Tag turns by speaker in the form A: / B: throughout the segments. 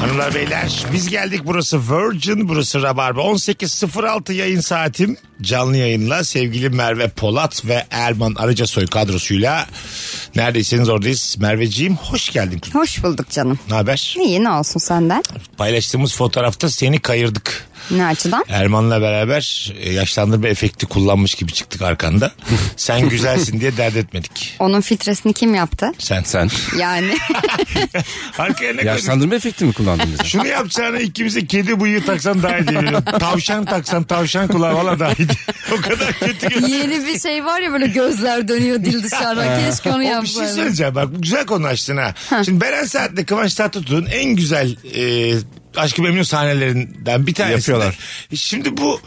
A: Hanımlar beyler biz geldik burası Virgin burası Rabarba 18.06 yayın saatim canlı yayınla sevgili Merve Polat ve Erman Arıcasoy kadrosuyla neredeyseniz oradayız Merveciğim hoş geldin kuzum
B: Hoş bulduk canım.
A: ne haber
B: İyi ne olsun senden?
A: paylaştığımız fotoğrafta seni kayırdık
B: Ne açıdan?
A: Erman'la beraber e, yaşlandırma efekti kullanmış gibi çıktık arkanda sen güzelsin diye dert etmedik
B: Onun filtresini kim yaptı?
A: sen
C: Sen
B: Yani
A: arkaya ne koyduk?
C: yaşlandırma efekti mi kullandın bize?
A: Şunu yapacağına ikimize kedi bıyığı taksan daha iyi diyebilirim. Tavşan taksan tavşan kulağı valla daha iyi. o kadar kötü gö-
B: yeni bir şey var ya böyle gözler dönüyor dil dışarıdan. Keşke onu
A: O bir şey
B: yapsaydım.
A: söyleyeceğim bak bu güzel konu açtın ha. Şimdi Beren Saat'le Kıvanç Tatlıtuğ'un en güzel e, Aşkı Memnun sahnelerinden bir tanesi.
C: Yapıyorlar.
A: Şimdi bu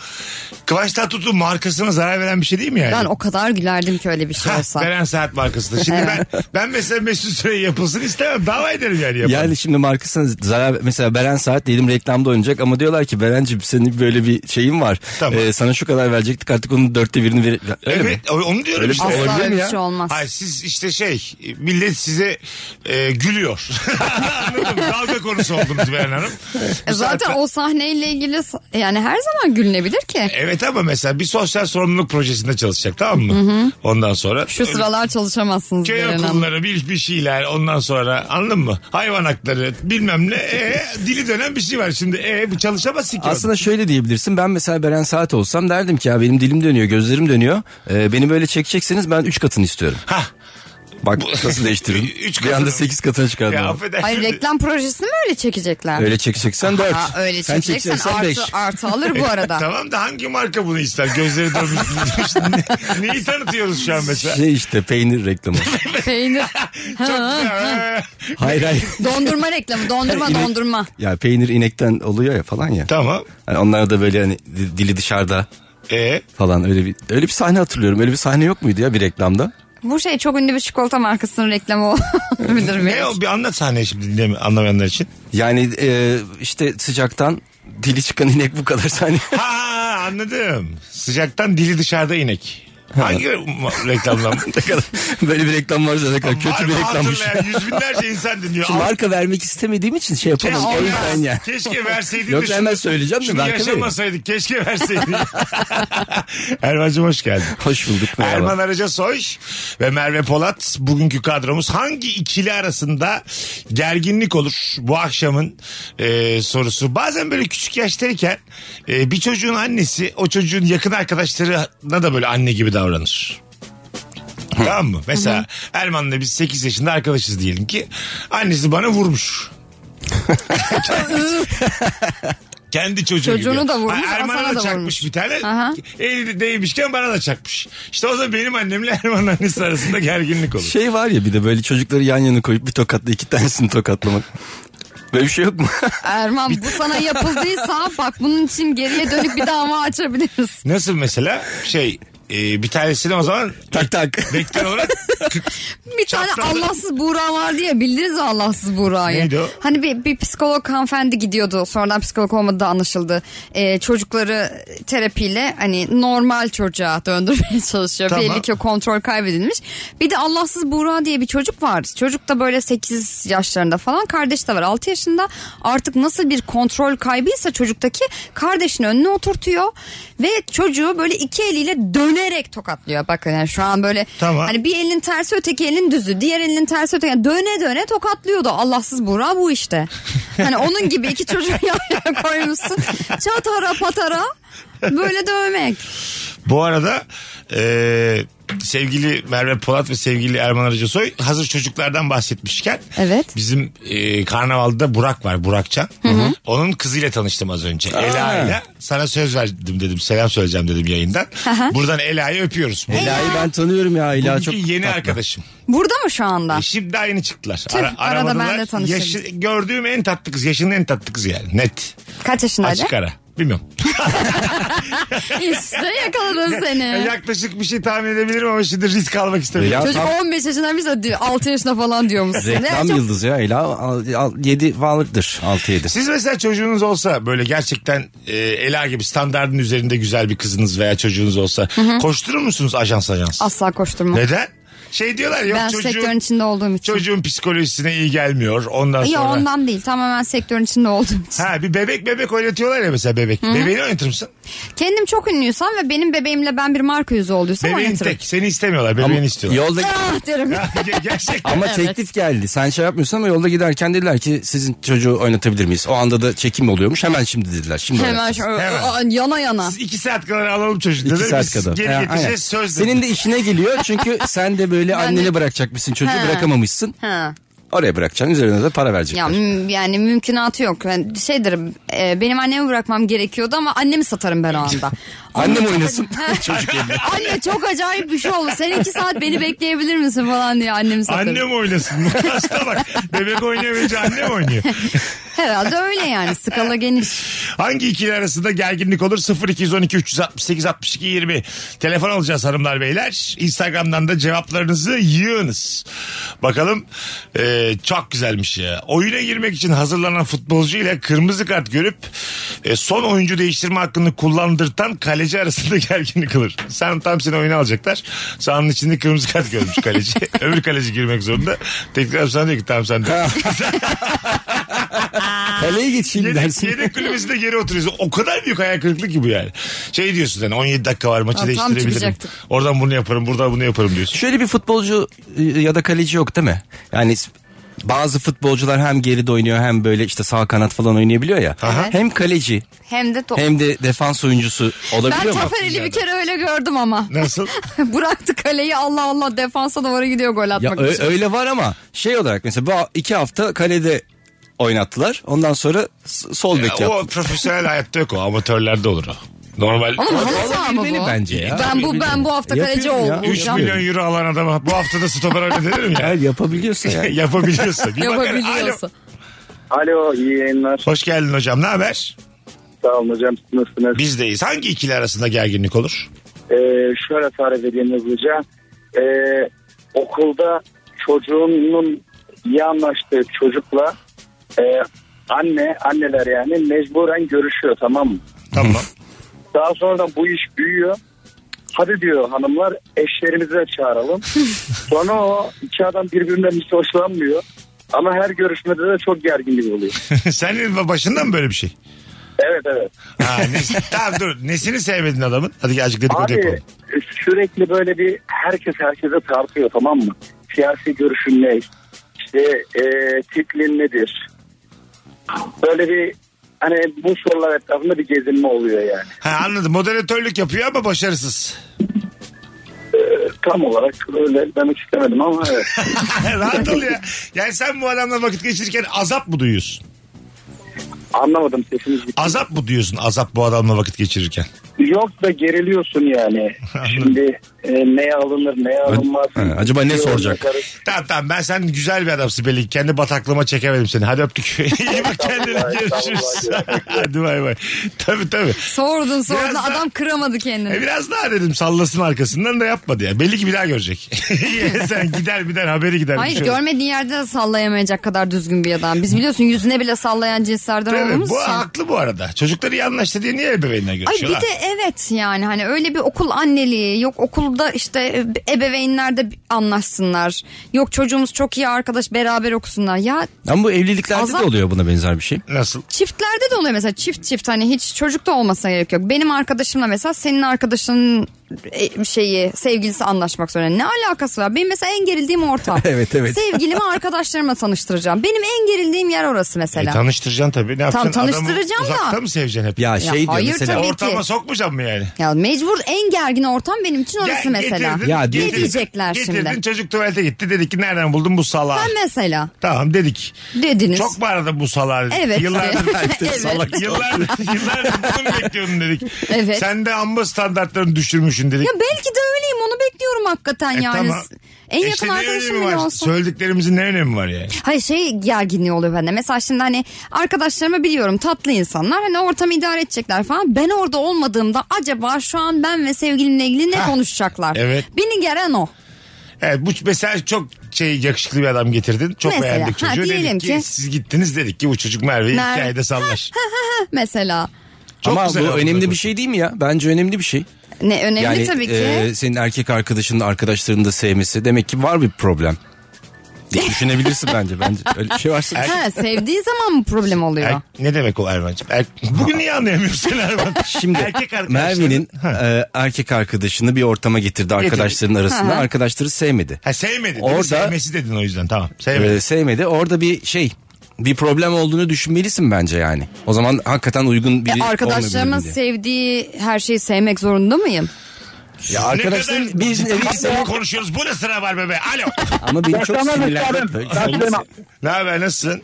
A: Kıvanç Tatlıtuğ markasına zarar veren bir şey değil mi yani?
B: Ben o kadar gülerdim ki öyle bir şey
A: Ha,
B: olsa.
A: Beren Saat markasına. Şimdi ben ben mesela Mesut Süre yapılsın istemem. Dava ederim yani yapan.
C: Yani şimdi markasına zarar mesela Beren Saat diyelim reklamda oynayacak ama diyorlar ki Beren'cim senin böyle bir şeyin var.
A: Tamam.
C: Ee, sana şu kadar verecektik artık onun dörtte birini ver. Öyle mi?
A: evet, o- onu diyorum
C: Öyle bir
A: işte.
C: şey
B: Asla
C: Olabilir
B: öyle
C: mi
B: bir
C: ya?
B: şey olmaz.
A: Hayır siz işte şey millet size e, gülüyor. Anladım. Dalga konusu oldunuz Beren Hanım.
B: E Zaten o sahneyle ilgili s- yani her zaman gülünebilir ki.
A: Evet ama mesela bir sosyal sorumluluk projesinde çalışacak tamam mı? Ondan sonra.
B: Şu sıralar çalışamazsınız
A: Köy
B: Beren Hanım.
A: okulları bir, bir şeyler ondan sonra anladın mı? Hayvan hakları bilmem ne e, dili dönen bir şey var şimdi. E, bu çalışamazsın ki.
C: Aslında şöyle diyebilirsin ben mesela Beren Saat olsam derdim ki ya benim dilim dönüyor gözlerim dönüyor. Ee, beni böyle çekecekseniz ben 3 katını istiyorum.
A: Ha.
C: Bak nasıl değiştiririm.
A: Üç
C: bir
A: katını
C: anda
A: mı?
C: 8 katına çıkardım.
A: Ya
C: onu.
A: affedersin.
B: Hayır reklam projesini mi öyle çekecekler?
C: Öyle çekeceksen 4.
B: Ha, öyle çekeceksen artı, artı alır bu arada.
A: Tamam da hangi marka bunu ister? Gözleri dönmüş. Ne- Neyi tanıtıyoruz şu an mesela?
C: Şey işte peynir reklamı.
B: Peynir.
A: Çok güzel. E,
C: hayır hayır.
B: Dondurma reklamı dondurma
C: İnek-
B: dondurma.
C: Ya peynir inekten oluyor ya falan ya.
A: Tamam.
C: Hani onlar da böyle hani di- dili dışarıda
A: E
C: falan öyle bir öyle bir sahne hatırlıyorum. Öyle bir sahne yok muydu ya bir reklamda?
B: Bu şey çok ünlü bir çikolata markasının reklamı olabilir
A: ne
B: belki.
A: o bir anlat sahneyi şimdi dinleme, anlamayanlar için.
C: Yani e, işte sıcaktan dili çıkan inek bu kadar sahne.
A: Ha anladım. Sıcaktan dili dışarıda inek. Hangi ma- reklamdan?
C: Ne kadar- böyle bir reklam varsa ne kadar
A: Var
C: kötü bir
A: mı
C: reklammış.
A: hatırlayan? Yüz binlerce insan dinliyor.
C: Şimdi marka vermek istemediğim için şey
A: Keşke,
C: yapamam. O yüzden
A: verseydin
C: ya.
A: keşke verseydin.
C: Yok,
A: de şunu-
C: hemen söyleyeceğim de
A: şunu
C: marka vereyim.
A: yaşamasaydık keşke verseydin. Erman'cığım hoş geldin.
C: Hoş bulduk. merhaba.
A: Erman Arıca Soy ve Merve Polat bugünkü kadromuz hangi ikili arasında gerginlik olur bu akşamın e, sorusu. Bazen böyle küçük yaştayken e, bir çocuğun annesi o çocuğun yakın arkadaşlarına da böyle anne gibi davranır. tamam mı? Mesela Erman'la biz 8 yaşında arkadaşız diyelim ki annesi bana vurmuş. Kendi çocuğu
B: Çocuğunu
A: gibi.
B: da vurmuş,
A: Ha, Erman'a
B: Hasan'a
A: da,
B: da
A: çakmış
B: vurmuş.
A: bir tane.
B: Aha.
A: Eli değmişken bana da çakmış. İşte o zaman benim annemle Erman'ın annesi arasında gerginlik olur.
C: Şey var ya bir de böyle çocukları yan yana koyup bir tokatla iki tanesini tokatlamak. Böyle bir şey yok mu?
B: Erman bu sana yapıldıysa bak bunun için geriye dönüp bir dava açabiliriz.
A: Nasıl mesela şey e, bir tanesini o zaman
C: tak tak.
A: vektör olarak
B: Bir tane Allahsız Buğra vardı ya bildiniz mi Allahsız Buğra'yı?
A: Neydi o?
B: Hani bir, bir psikolog hanımefendi gidiyordu sonradan psikolog olmadığı da anlaşıldı. Ee, çocukları terapiyle hani normal çocuğa döndürmeye çalışıyor.
A: Tamam.
B: Belli ki o kontrol kaybedilmiş. Bir de Allahsız Buğra diye bir çocuk var. Çocuk da böyle 8 yaşlarında falan kardeş de var 6 yaşında. Artık nasıl bir kontrol kaybıysa çocuktaki kardeşini önüne oturtuyor ve çocuğu böyle iki eliyle dönerek tokatlıyor. Bakın yani şu an böyle
A: Tamam.
B: hani bir elin tersi öteki elin düzü. Diğer elin tersi öteki yani döne döne tokatlıyordu. Allahsız Buğra bu işte. Hani onun gibi iki çocuğu yan yana koymuşsun. Çatara patara böyle dövmek.
A: Bu arada e, sevgili Merve Polat ve sevgili Erman Arıcasoy hazır çocuklardan bahsetmişken
B: Evet.
A: bizim e, karnavalda Burak var Burakcan. Onun kızıyla tanıştım az önce. Ela ile sana söz verdim dedim selam söyleyeceğim dedim yayından. Buradan Ela'yı öpüyoruz.
C: Ela'yı ben tanıyorum ya. Ela
A: Bugünkü
C: çok
A: yeni
C: tatlı.
A: arkadaşım.
B: Burada mı şu anda?
A: E şimdi daha yeni çıktılar.
B: Tüh, arada ben de tanışırım.
A: Yaşı- gördüğüm en tatlı kız. Yaşının en tatlı kız yani. Net.
B: Kaç yaşındaydı?
A: Açık ara. Bilmiyorum.
B: İşte yakaladım
A: Yani
B: seni.
A: yaklaşık bir şey tahmin edebilirim ama şimdi risk almak istemiyorum.
C: Ya
B: Çocuk
C: tam-
B: 15 yaşından bize diyor, 6 yaşında falan diyor musun?
C: Reklam
B: çok-
C: yıldızı ya Ela 7 vardır 6 7.
A: Siz mesela çocuğunuz olsa böyle gerçekten e, Ela gibi standartın üzerinde güzel bir kızınız veya çocuğunuz olsa koşturur musunuz ajans ajans?
B: Asla koşturma.
A: Neden? Şey diyorlar yok
B: ben sektörün
A: çocuğun,
B: içinde olduğum için.
A: çocuğun psikolojisine iyi gelmiyor ondan
B: Ya
A: sonra.
B: ondan değil tamamen sektörün içinde olduğum için.
A: Ha bir bebek bebek oynatıyorlar ya mesela bebek. Bebeğini oynatır mısın?
B: Kendim çok ünlüysam ve benim bebeğimle ben bir marka yüzü olduysam
A: Bebeğin
B: oynatırım.
A: tek. Seni istemiyorlar. Bebeğini istiyorlar.
C: Yolda
B: Ah derim.
A: Ge- Gerçekten.
C: ama
B: Evet.
C: teklif geldi. Sen şey yapmıyorsun ama yolda giderken dediler ki sizin çocuğu oynatabilir miyiz? O anda da çekim oluyormuş. Hemen şimdi dediler. Şimdi
B: Hemen
C: oynatırız.
B: şöyle, aa, yana yana.
A: Biz iki saat kadar alalım çocuğu.
C: İki
A: dedi.
C: saat
A: Biz
C: kadar.
A: Geri
C: Ha, aynen.
A: getireceğiz söz dedi.
C: Senin de işine geliyor çünkü sen de böyle anneni bırakacakmışsın çocuğu
B: Ha.
C: bırakamamışsın.
B: Ha.
C: Oraya bırakacaksın üzerine de para verecekler.
B: Ya müm- yani mümkünatı yok. Ben şey derim e, benim annemi bırakmam gerekiyordu ama annemi satarım ben o anda.
C: Annem oynasın.
B: Çocuk Anne çok acayip bir şey oldu. Sen iki saat beni bekleyebilir misin falan diye annemi satarım.
A: Annem oynasın. Hasta bak. Bebek oynayamayınca annem oynuyor.
B: Herhalde öyle yani skala geniş.
A: Hangi ikili arasında gerginlik olur? 0212 368 62 20. Telefon alacağız hanımlar beyler. Instagram'dan da cevaplarınızı yığınız. Bakalım e, çok güzelmiş ya. Oyuna girmek için hazırlanan futbolcu ile kırmızı kart görüp e, son oyuncu değiştirme hakkını kullandırtan kaleci arasında gerginlik olur. Sen tam seni oyuna alacaklar. Sahanın içinde kırmızı kart görmüş kaleci. Öbür kaleci girmek zorunda. Tekrar sana diyor ki tamam sen de.
C: Kaleye geç şimdi
A: Yedek,
C: dersin.
A: yedek kulübesinde geri oturuyorsun. O kadar büyük hayal kırıklığı ki bu yani. Şey diyorsun yani 17 dakika var maçı
B: Aa, tam
A: değiştirebilirim.
B: çıkacaktık.
A: Oradan bunu yaparım buradan bunu yaparım diyorsun.
C: Şöyle bir futbolcu e, ya da kaleci yok değil mi? Yani s- bazı futbolcular hem geride oynuyor hem böyle işte sağ kanat falan oynayabiliyor ya.
B: Aha.
C: Hem kaleci
B: Hem de top.
C: hem de defans oyuncusu
B: ben
C: olabiliyor mu?
B: Taferel'i bir kere öyle gördüm ama.
A: Nasıl?
B: Bıraktı kaleyi Allah Allah defansa doğru gidiyor gol
C: Ya
B: atmak
C: ö-
B: için.
C: öyle var ama şey olarak mesela bu iki hafta kalede oynattılar. Ondan sonra s- sol bek
A: o
C: yaptı.
A: profesyonel hayatta yok o amatörlerde olur o. Normal.
B: Ama halı saha mı
C: Bilmeli
B: bu?
C: bence ya.
B: Ben bu ben bu hafta kaleci
C: Yapıyorum ya.
B: oldum.
A: 3 milyon euro alan adama bu haftada stoper oynatılır mi ya?
C: Hayır yapabiliyorsa ya.
A: Yapabiliyorsa. Bir bakar,
B: Yapabiliyorsa.
A: alo.
D: Alo iyi yayınlar.
A: Hoş geldin hocam ne haber?
D: Sağ olun hocam siz nasılsınız?
A: Bizdeyiz. Hangi ikili arasında gerginlik olur?
D: Ee, şöyle tarif edeyim hızlıca. Ee, okulda çocuğunun iyi anlaştığı çocukla e, anne, anneler yani mecburen görüşüyor tamam mı?
A: Tamam.
D: Daha sonra da bu iş büyüyor. Hadi diyor hanımlar eşlerimizi de çağıralım. sonra o iki adam birbirinden hiç hoşlanmıyor. Ama her görüşmede de çok gerginlik oluyor.
A: Senin başında mı böyle bir şey?
D: Evet evet.
A: Ha, nesi- tamam dur. Nesini sevmedin adamın? Hadi azıcık dedikodu
D: Abi
A: yapalım.
D: sürekli böyle bir herkes herkese tartıyor tamam mı? Siyasi görüşün ne? İşte e, tiplin nedir? Böyle bir hani bu sorular etrafında bir gezinme oluyor yani.
A: Ha, anladım. Moderatörlük yapıyor ama başarısız.
D: E, Tam olarak öyle demek istemedim ama evet.
A: Rahat ol ya. Yani sen bu adamla vakit geçirirken azap mı duyuyorsun?
D: Anlamadım sesiniz gitti.
A: Azap mı duyuyorsun azap bu adamla vakit geçirirken?
D: Yok da geriliyorsun yani. Şimdi e, neye alınır neye alınmaz.
C: Ha, acaba ne soracak?
A: Tamam tamam ben sen güzel bir adamsın belli. ki. Kendi bataklığıma çekemedim seni. Hadi öptük. İyi bak kendine
D: Estağfurullah,
A: görüşürüz.
D: estağfurullah.
A: Hadi bay bay. Tabii tabii.
B: Sordun sordun
A: Biraz daha-
B: adam kıramadı kendini.
A: E biraz daha dedim sallasın arkasından da yapmadı ya. Belli ki bir daha görecek. sen gider gider haberi gider. bir
B: Hayır
A: şey olur.
B: görmediğin yerde de sallayamayacak kadar düzgün bir adam. Biz biliyorsun yüzüne bile sallayan cinslerden
A: Değil mi?
B: olduğumuz
A: Bu
B: için.
A: haklı bu arada. Çocukları iyi anlaştı diye niye ebeveynler
B: Ay bir
A: görüşüyorlar?
B: de evet yani hani öyle bir okul anneliği yok okulda işte ebeveynler de anlaşsınlar. Yok çocuğumuz çok iyi arkadaş beraber okusunlar. Ya
C: Ama bu evliliklerde
B: Azap-
C: de oluyor buna benzer bir şey.
A: Nasıl?
B: çiftlerde de oluyor mesela çift çift hani hiç çocuk da olmasına gerek yok. Benim arkadaşımla mesela senin arkadaşının e, şeyi sevgilisi anlaşmak zorunda. Ne alakası var? Benim mesela en gerildiğim ortam.
C: Evet, evet.
B: Sevgilimi arkadaşlarımla tanıştıracağım. Benim en gerildiğim yer orası mesela.
A: E, tanıştıracaksın tabii. Ne yapacaksın?
B: tanıştıracağım
A: Adamı
B: da.
A: Uzakta mı seveceksin hep?
C: Ya şey diyor
B: hayır
C: mesela.
B: tabii.
A: Ortama
B: ki.
A: sokmayacağım mı yani?
B: ya mecbur en gergin ortam benim için orası
A: Gel,
B: mesela.
A: getirdin,
C: Ya,
A: getirdin.
B: ne diyecekler
A: Getirdin
B: şimdi?
A: çocuk tuvalete gitti dedik ki nereden buldun bu salağı?
B: Ben mesela
A: Tamam dedik.
B: dediniz.
A: Çok bağırdı bu salağı dedik.
B: Evet.
A: Yıllardır
B: Evet.
A: Salak. Yıllardır, yıllardır bunu bekliyordun dedik.
B: Evet.
A: Sen de amma standartlarını düşürmüşsün dedik.
B: Ya belki de öyleyim onu bekliyorum hakikaten yani.
A: E, tamam.
B: En yakın
A: İşte ne önemi
B: arkadaşım
A: var?
B: bile olsa.
A: Söylediklerimizin ne önemi var yani?
B: Hayır şey gerginliği oluyor bende. Mesela şimdi hani arkadaşlarımı biliyorum tatlı insanlar. Hani ortamı idare edecekler falan. Ben orada olmadığımda acaba şu an ben ve sevgilimle ilgili ne
A: Hah,
B: konuşacaklar?
A: evet.
B: Beni geren o.
A: Evet bu mesela çok şey yakışıklı bir adam getirdin. Çok
B: Mesela,
A: beğendik
B: ha,
A: çocuğu.
B: diyelim
A: dedik ki,
B: ki-
A: siz gittiniz dedik ki bu çocuk Merve'yi
B: Merve-
A: hikayede sallar.
B: Mesela.
A: Çok
C: Ama
A: güzel
C: bu
A: oldu.
C: önemli bir şey değil mi ya? Bence önemli bir şey.
B: Ne önemli
C: yani
B: tabii ki.
C: e, senin erkek arkadaşının arkadaşlarını da sevmesi demek ki var bir problem. diye düşünebilirsin bence. Bence öyle bir şey varsa.
B: Ha, sevdiği zaman mı problem oluyor?
A: Er- ne demek o Erman'cığım? Er- Bugün niye anlayamıyorsun Erman?
C: Şimdi
A: Erkek arkadaşların-
C: Merve'nin
A: Ha.
C: e, erkek arkadaşını bir ortama getirdi arkadaşların arasında.
B: Ha.
C: Arkadaşları sevmedi.
A: Ha sevmedin.
C: Orada-
A: Orada... Sevmesi dedin o yüzden tamam. Sevmedin.
C: Ee, sevmedi. Orada bir şey bir problem olduğunu düşünmelisin bence yani. O zaman hakikaten uygun biri
B: E,
C: olmayabilir
B: arkadaşlarımın
C: diye.
B: sevdiği her şeyi sevmek zorunda mıyım?
C: Ya arkadaşların
A: ne kadar
C: bir
A: ciddi
C: nevi
A: bir konuşuyoruz. Bu ne sıra var be be? Alo.
C: ama beni çok
E: Yaşlanmaz
C: sinirlendi.
E: efendim.
C: Böyle
E: Ben
C: olmaz.
E: bilemem.
A: ne haber nasılsın?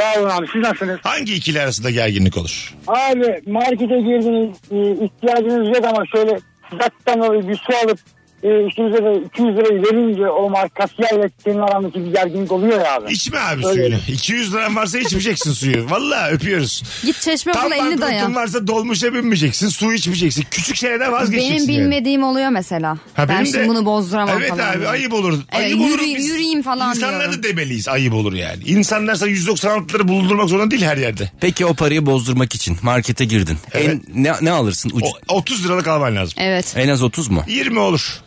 E: Sağ olun abi siz nasılsınız?
A: Hangi ikili arasında gerginlik olur?
E: Abi markete girdiniz e, ihtiyacınız yok ama şöyle sıcaktan dolayı bir su alıp e, üstünüze de 200 lirayı verince o mark kasiyerle senin arandaki bir gerginlik oluyor ya abi.
A: İçme abi
E: Öyle.
A: suyunu. 200 liran varsa içmeyeceksin suyu. Valla öpüyoruz.
B: Git çeşme
A: Tam
B: bul elini
A: banknotun
B: dayan.
A: varsa dolmuşa binmeyeceksin. Su içmeyeceksin. Küçük şeylerden vazgeçeceksin.
B: Benim
A: yani.
B: bilmediğim oluyor mesela.
A: Ha,
B: ben
A: benim
B: şimdi
A: de-
B: bunu bozduramam
A: evet
B: falan.
A: abi
B: diye.
A: ayıp olur. ayıp
B: yürü-
A: olur biz.
B: yürüyeyim falan
A: İnsanlara
B: diyorum.
A: da demeliyiz ayıp olur yani. İnsanlarsa 196'ları bulundurmak zorunda değil her yerde.
C: Peki o parayı bozdurmak için markete girdin.
A: Evet.
C: En ne, ne alırsın? Ucu-
A: O, 30 liralık alman lazım.
B: Evet
C: En az 30 mu?
A: 20 olur.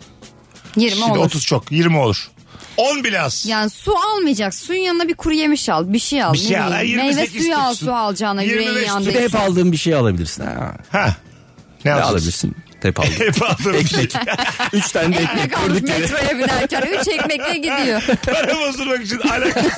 B: 20
A: Şimdi
B: olur.
A: 30 çok 20 olur. 10 bile az.
B: Yani su almayacak. Suyun yanına bir kuru yemiş al. Bir şey al.
A: Bir
B: ne
A: şey al.
B: bileyim.
A: Ha, 28
B: Meyve suyu al
A: tutsun.
B: su alacağına. Yüreğin
A: 25
B: yandı.
C: Bir de hep aldığın bir şey alabilirsin. Ha,
A: Ha. Ne,
C: ne
A: alacaksın?
C: alabilirsin? Hep aldın.
A: Hep aldığım bir şey.
C: Üç tane de ekmek
B: Ekmek almış
C: koyduk yere.
B: metroya binerken. Üç ekmekle gidiyor.
A: Para bozdurmak için alakası.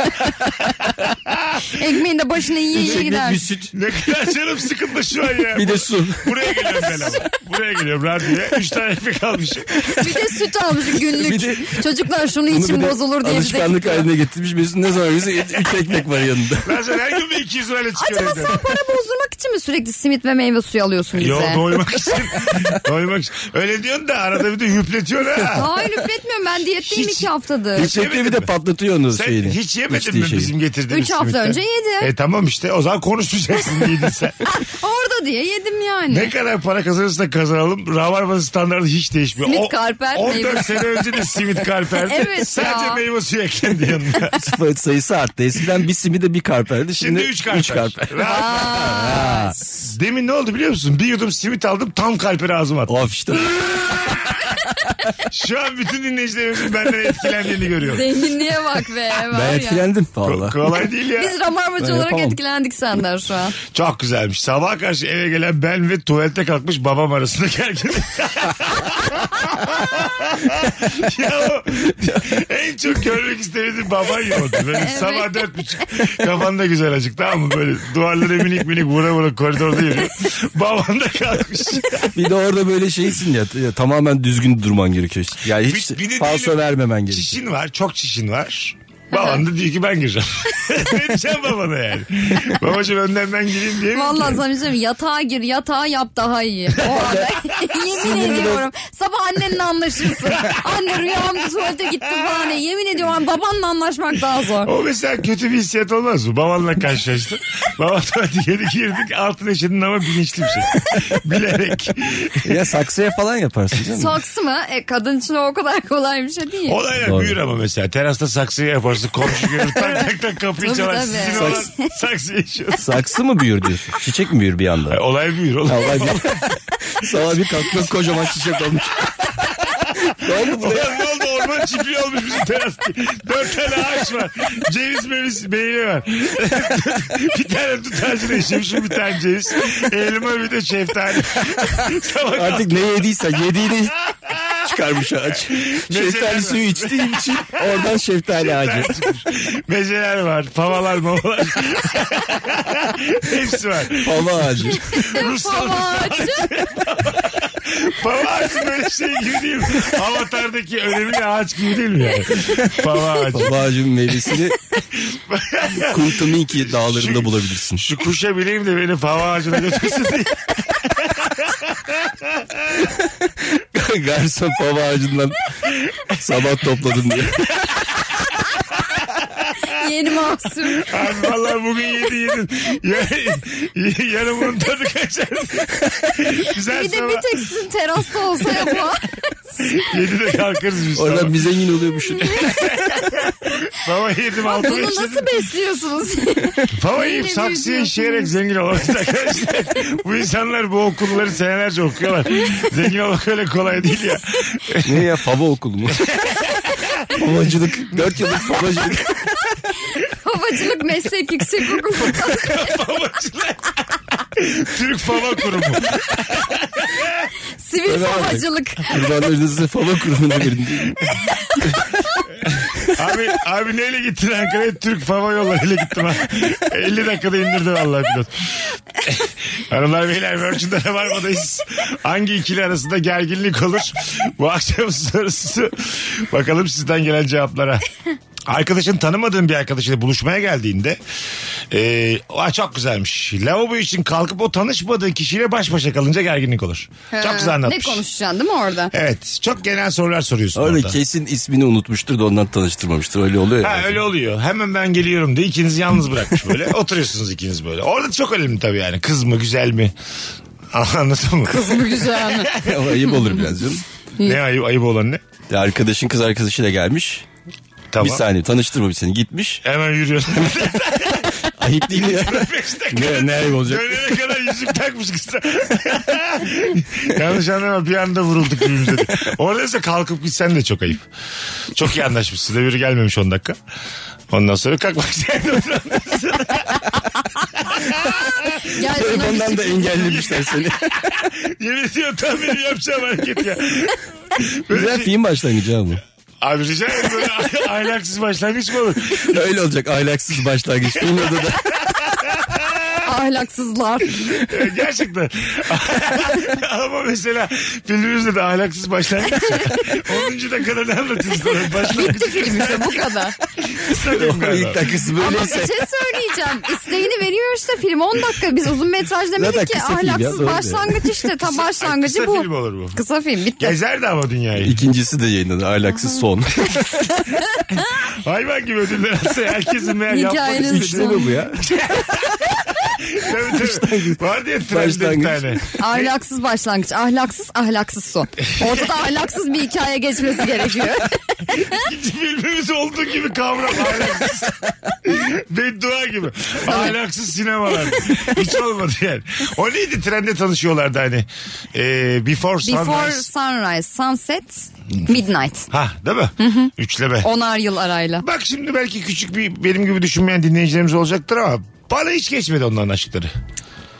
B: Ekmeğin de başına yiye
C: Üç
B: yiye
C: ekmek,
B: gider.
C: bir süt.
A: Ne kadar canım sıkıldı şu an ya.
C: Bir de su.
A: Buraya geliyorum ben ama. Buraya geliyorum radyoya. Üç tane ekmek almışım.
B: Bir de süt almış günlük.
C: Bir de-
B: Çocuklar şunu
C: Bunu bir
B: için
C: de
B: bozulur diye bize
C: Alışkanlık haline getirmiş. Mesut ne zaman bize üç ekmek var yanında.
A: Ben sana her gün bir 200 lirayla çıkıyorum.
B: Acaba
A: evden.
B: sen para bozdurmak için mi sürekli simit ve meyve suyu alıyorsun bize?
A: Yo doymak için. doymak için. Öyle diyorsun da arada bir de hüpletiyorsun ha.
B: Hayır üfletmiyorum ben diyetteyim
A: Hiç-
B: iki haftadır.
C: Üç ekmeği bir de patlatıyor onu
A: Sen
C: şeyini.
A: hiç yemedin
C: İçtiği
A: mi
C: şeyi.
A: bizim getirdiğimiz
B: Üç hafta
A: simitten?
B: önce yedim.
A: E tamam işte o zaman konuşmayacaksın yedin sen.
B: Orada diye yedim yani.
A: ne kadar para kazanırsak kazanalım Ravarman'ın standartı hiç değişmiyor.
B: Simit
A: O-
B: karper,
A: 14
B: meyve.
A: sene önce de simit karperdi.
B: Evet
A: Sadece
B: ya.
A: meyve suyu eklendi yanına.
C: Sayı- sayısı arttı. Eskiden bir simi de bir karperdi. Şimdi,
A: Şimdi 3 karper.
C: üç karper.
A: Rahat. Demin ne oldu biliyor musun? Bir yudum simit aldım tam kalperi ağzıma attım.
C: Of işte.
A: Şu an bütün dinleyicilerimizin benden etkilendiğini görüyorum.
B: Zenginliğe bak be. var
C: Ben
B: ya.
C: etkilendim
A: Ko-
C: valla.
A: Kolay değil ya.
B: Biz ramarmacı
C: Ben
B: olarak
C: yapamam.
B: etkilendik senden şu an.
A: Çok güzelmiş. Sabah karşı eve gelen ben ve tuvalete kalkmış babam arasında gerginlik. ya o en çok görmek istemediğim baban ya oldu. Böyle sabah dört buçuk kafan da güzel acık tamam mı? Böyle duvarlara minik minik vura vura koridorda yürüyor. baban da kalkmış.
C: Bir de orada böyle şeysin ya, ya tamamen düzgün durman gerekiyor. işte. Yani hiç
A: Bir- bir de
C: falso
A: diyelim-
C: vermemen gerekiyor.
A: Çişin var çok çişin var. Baban da diyor ki ben gireceğim. Vereceğim babana yani. Babacığım önden ben gireyim diye.
B: Vallahi sana bir şey söyleyeyim, yatağa gir yatağa yap daha iyi. O anda yemin ediyorum sabah annenle anlaşırsın. Anne rüyamda tuvalete gitti falan diye. yemin ediyorum babanla anlaşmak daha zor.
A: O mesela kötü bir hissiyat olmaz mı? Babanla karşılaştın. Baba tuvalete girdik girdik altın eşedin ama bilinçli bir şey. Bilerek.
C: Ya saksıya falan yaparsın canım.
B: Saksı mı? E, kadın için o kadar kolay bir şey değil.
A: O da öyle
C: Doğru.
A: büyür ama mesela. Terasta saksıyı yaparsın. Komşu görür tak tak tak kapıyı
B: Tabii,
A: çalar.
B: tabii.
A: Sizin olan saksıyı yaşıyorsun.
C: Saksı mı büyür diyorsun? Çiçek mi büyür bir anda?
A: Olay büyür oğlum.
C: Vallahi bir, sabah bir kalktın kocaman çiçek olmuş. ne oldu bu?
A: Ulan ne oldu orman çiftliği olmuş bizim teras. Dört tane ağaç var. Ceviz meviz meyve var. bir tane tut ağacını işemişim bir tane ceviz. Elma bir de şeftali. Sabah
C: Artık ne yediysen yediğini çıkarmış ağaç.
A: Mezeler var.
C: Şeftali suyu içtiğim için oradan şeftali ağacı.
A: Mezeler var. Pavalar mavalar. Hepsi var.
C: Pava ağacı.
A: Rus salatası.
B: Amaç.
A: Pava ağacı böyle şey gibi değil mi? Avatar'daki önemli ağaç gibi değil mi yani? Pava ağacı.
C: Pava ağacının meyvesini Kuntuminki dağlarında bulabilirsin.
A: Şu kuşa bileyim de beni pava ağacına götürsün diye.
C: Garson fava ağacından sabah topladım diye.
B: Yeni mahsul.
A: Abi vallahi bugün yedi yedin. Ya- Yarın bunun tadı kaçar. Güzel
B: Bir de
A: sabah.
B: bir tek sizin terasta olsa yapar.
A: Yedide kalkarız biz sabah.
C: Oradan bir zengin oluyormuşsun.
A: Fava yedim altı
B: Bunu
A: yaşadım.
B: nasıl besliyorsunuz?
A: Fava yiyip
B: Neyle
A: saksıya
B: büyütüyorsunuz?
A: işeyerek zengin olamayız arkadaşlar. Bu insanlar bu okulları senelerce okuyorlar. Zengin olmak öyle kolay değil ya.
C: ne ya fava okulu mu? Favacılık. Dört yıllık favacılık.
B: Havacılık meslek yüksek okulu.
A: Favacılar. Türk Fava Kurumu.
B: Sivil
C: Öyle abi.
B: havacılık.
C: Kurbanlarınızı size fava kurumuna verin diye.
A: Abi, abi neyle gittin Ankara'ya? Türk Fava yollarıyla gittim ha. 50 dakikada indirdi vallahi pilot. Hanımlar beyler Virgin'de Rabarba'dayız. Hangi ikili arasında gerginlik olur? Bu akşam sorusu. Bakalım sizden gelen cevaplara. Arkadaşın tanımadığın bir arkadaşıyla buluşmaya geldiğinde eee "Aa, çok güzelmiş. Lavabo için kalkıp o tanışmadığı kişiyle baş başa kalınca gerginlik olur. Çok güzel
B: Ne
A: anlatmış.
B: konuşacaksın değil mi orada?
A: Evet. Çok genel sorular soruyorsun
C: Orada
A: orada.
C: kesin ismini unutmuştur da ondan tanıştırmamıştır. Öyle oluyor.
A: Ha
C: yani.
A: öyle oluyor. Hemen ben geliyorum diye ikinizi yalnız bırakmış böyle. Oturuyorsunuz ikiniz böyle. Orada çok önemli tabii yani. Kız mı güzel mi? Anladın mı?
B: Kız mı güzel mi?
C: O ayıp olur biraz canım.
A: ne ayıp, ayıp olan ne?
C: Ya arkadaşın kız arkadaşıyla gelmiş.
A: Tamam.
C: Bir saniye tanıştırmamış seni. Gitmiş.
A: Hemen yürüyorsun.
C: Ayıp değil ya.
A: Beş dakika.
C: ne, ne ayıp olacak?
A: Dönene kadar yüzük takmış kısa. Yanlış anlama bir anda vurulduk birbirimize. de. Orada ise kalkıp gitsen de çok ayıp. Çok iyi anlaşmışsın. Öbürü gelmemiş 10 dakika. Ondan sonra kalkmak sen de oturamazsın.
B: Gel şuna bir
C: Ondan da engellemişler seni.
A: Yemin ediyorum tam benim yapacağım hareket ya. Böyle
C: Güzel
A: şey-
C: film başlangıcı ama.
A: Abi rica ederim böyle ahlaksız başlangıç mı olur?
C: Öyle olacak ahlaksız başlangıç. Filmin adı da
B: ahlaksızlar.
A: Ee, Gerçekten. Ama mesela filmimizde de ahlaksız başlangıç. 10. dakikada ne anlatıyorsun? Başlangıç.
B: Bitti film işte bu kadar.
A: Sanırım
C: ilk
A: galiba.
C: dakikası
B: Ama bir
C: böyleyse.
B: şey söyleyeceğim. İsteğini veriyor işte film. 10 dakika. Biz uzun metraj
C: Zaten
B: demedik ki.
C: kısa film ya,
B: Ahlaksız
C: doğru
B: başlangıç işte. Tam başlangıcı
A: Kısa
B: bu.
A: film olur bu.
B: Kısa film bitti.
A: Gezerdi ama dünyayı.
C: İkincisi de yayınlanır. Ahlaksız son.
A: Hayvan gibi ödüller alsa herkesin meğer yapmak
B: Hikayenin
A: istediği.
B: sonu.
C: mi bu ya?
A: Tabii tabii. Vardı ya trende bir
C: Başlangıç.
A: tane.
B: Ahlaksız başlangıç. Ahlaksız ahlaksız son. Ortada ahlaksız bir hikaye geçmesi gerekiyor.
A: İkinci filmimiz olduğu gibi kavram ahlaksız. Beddua gibi. Ahlaksız sinemalar. Hiç olmadı yani. O neydi trende tanışıyorlardı hani. Ee, Before Sunrise.
B: Before sunrise, sunset, midnight.
A: Ha değil mi? Üçleme.
B: Onar yıl arayla.
A: Bak şimdi belki küçük bir benim gibi düşünmeyen dinleyicilerimiz olacaktır ama bana hiç geçmedi onların aşkları.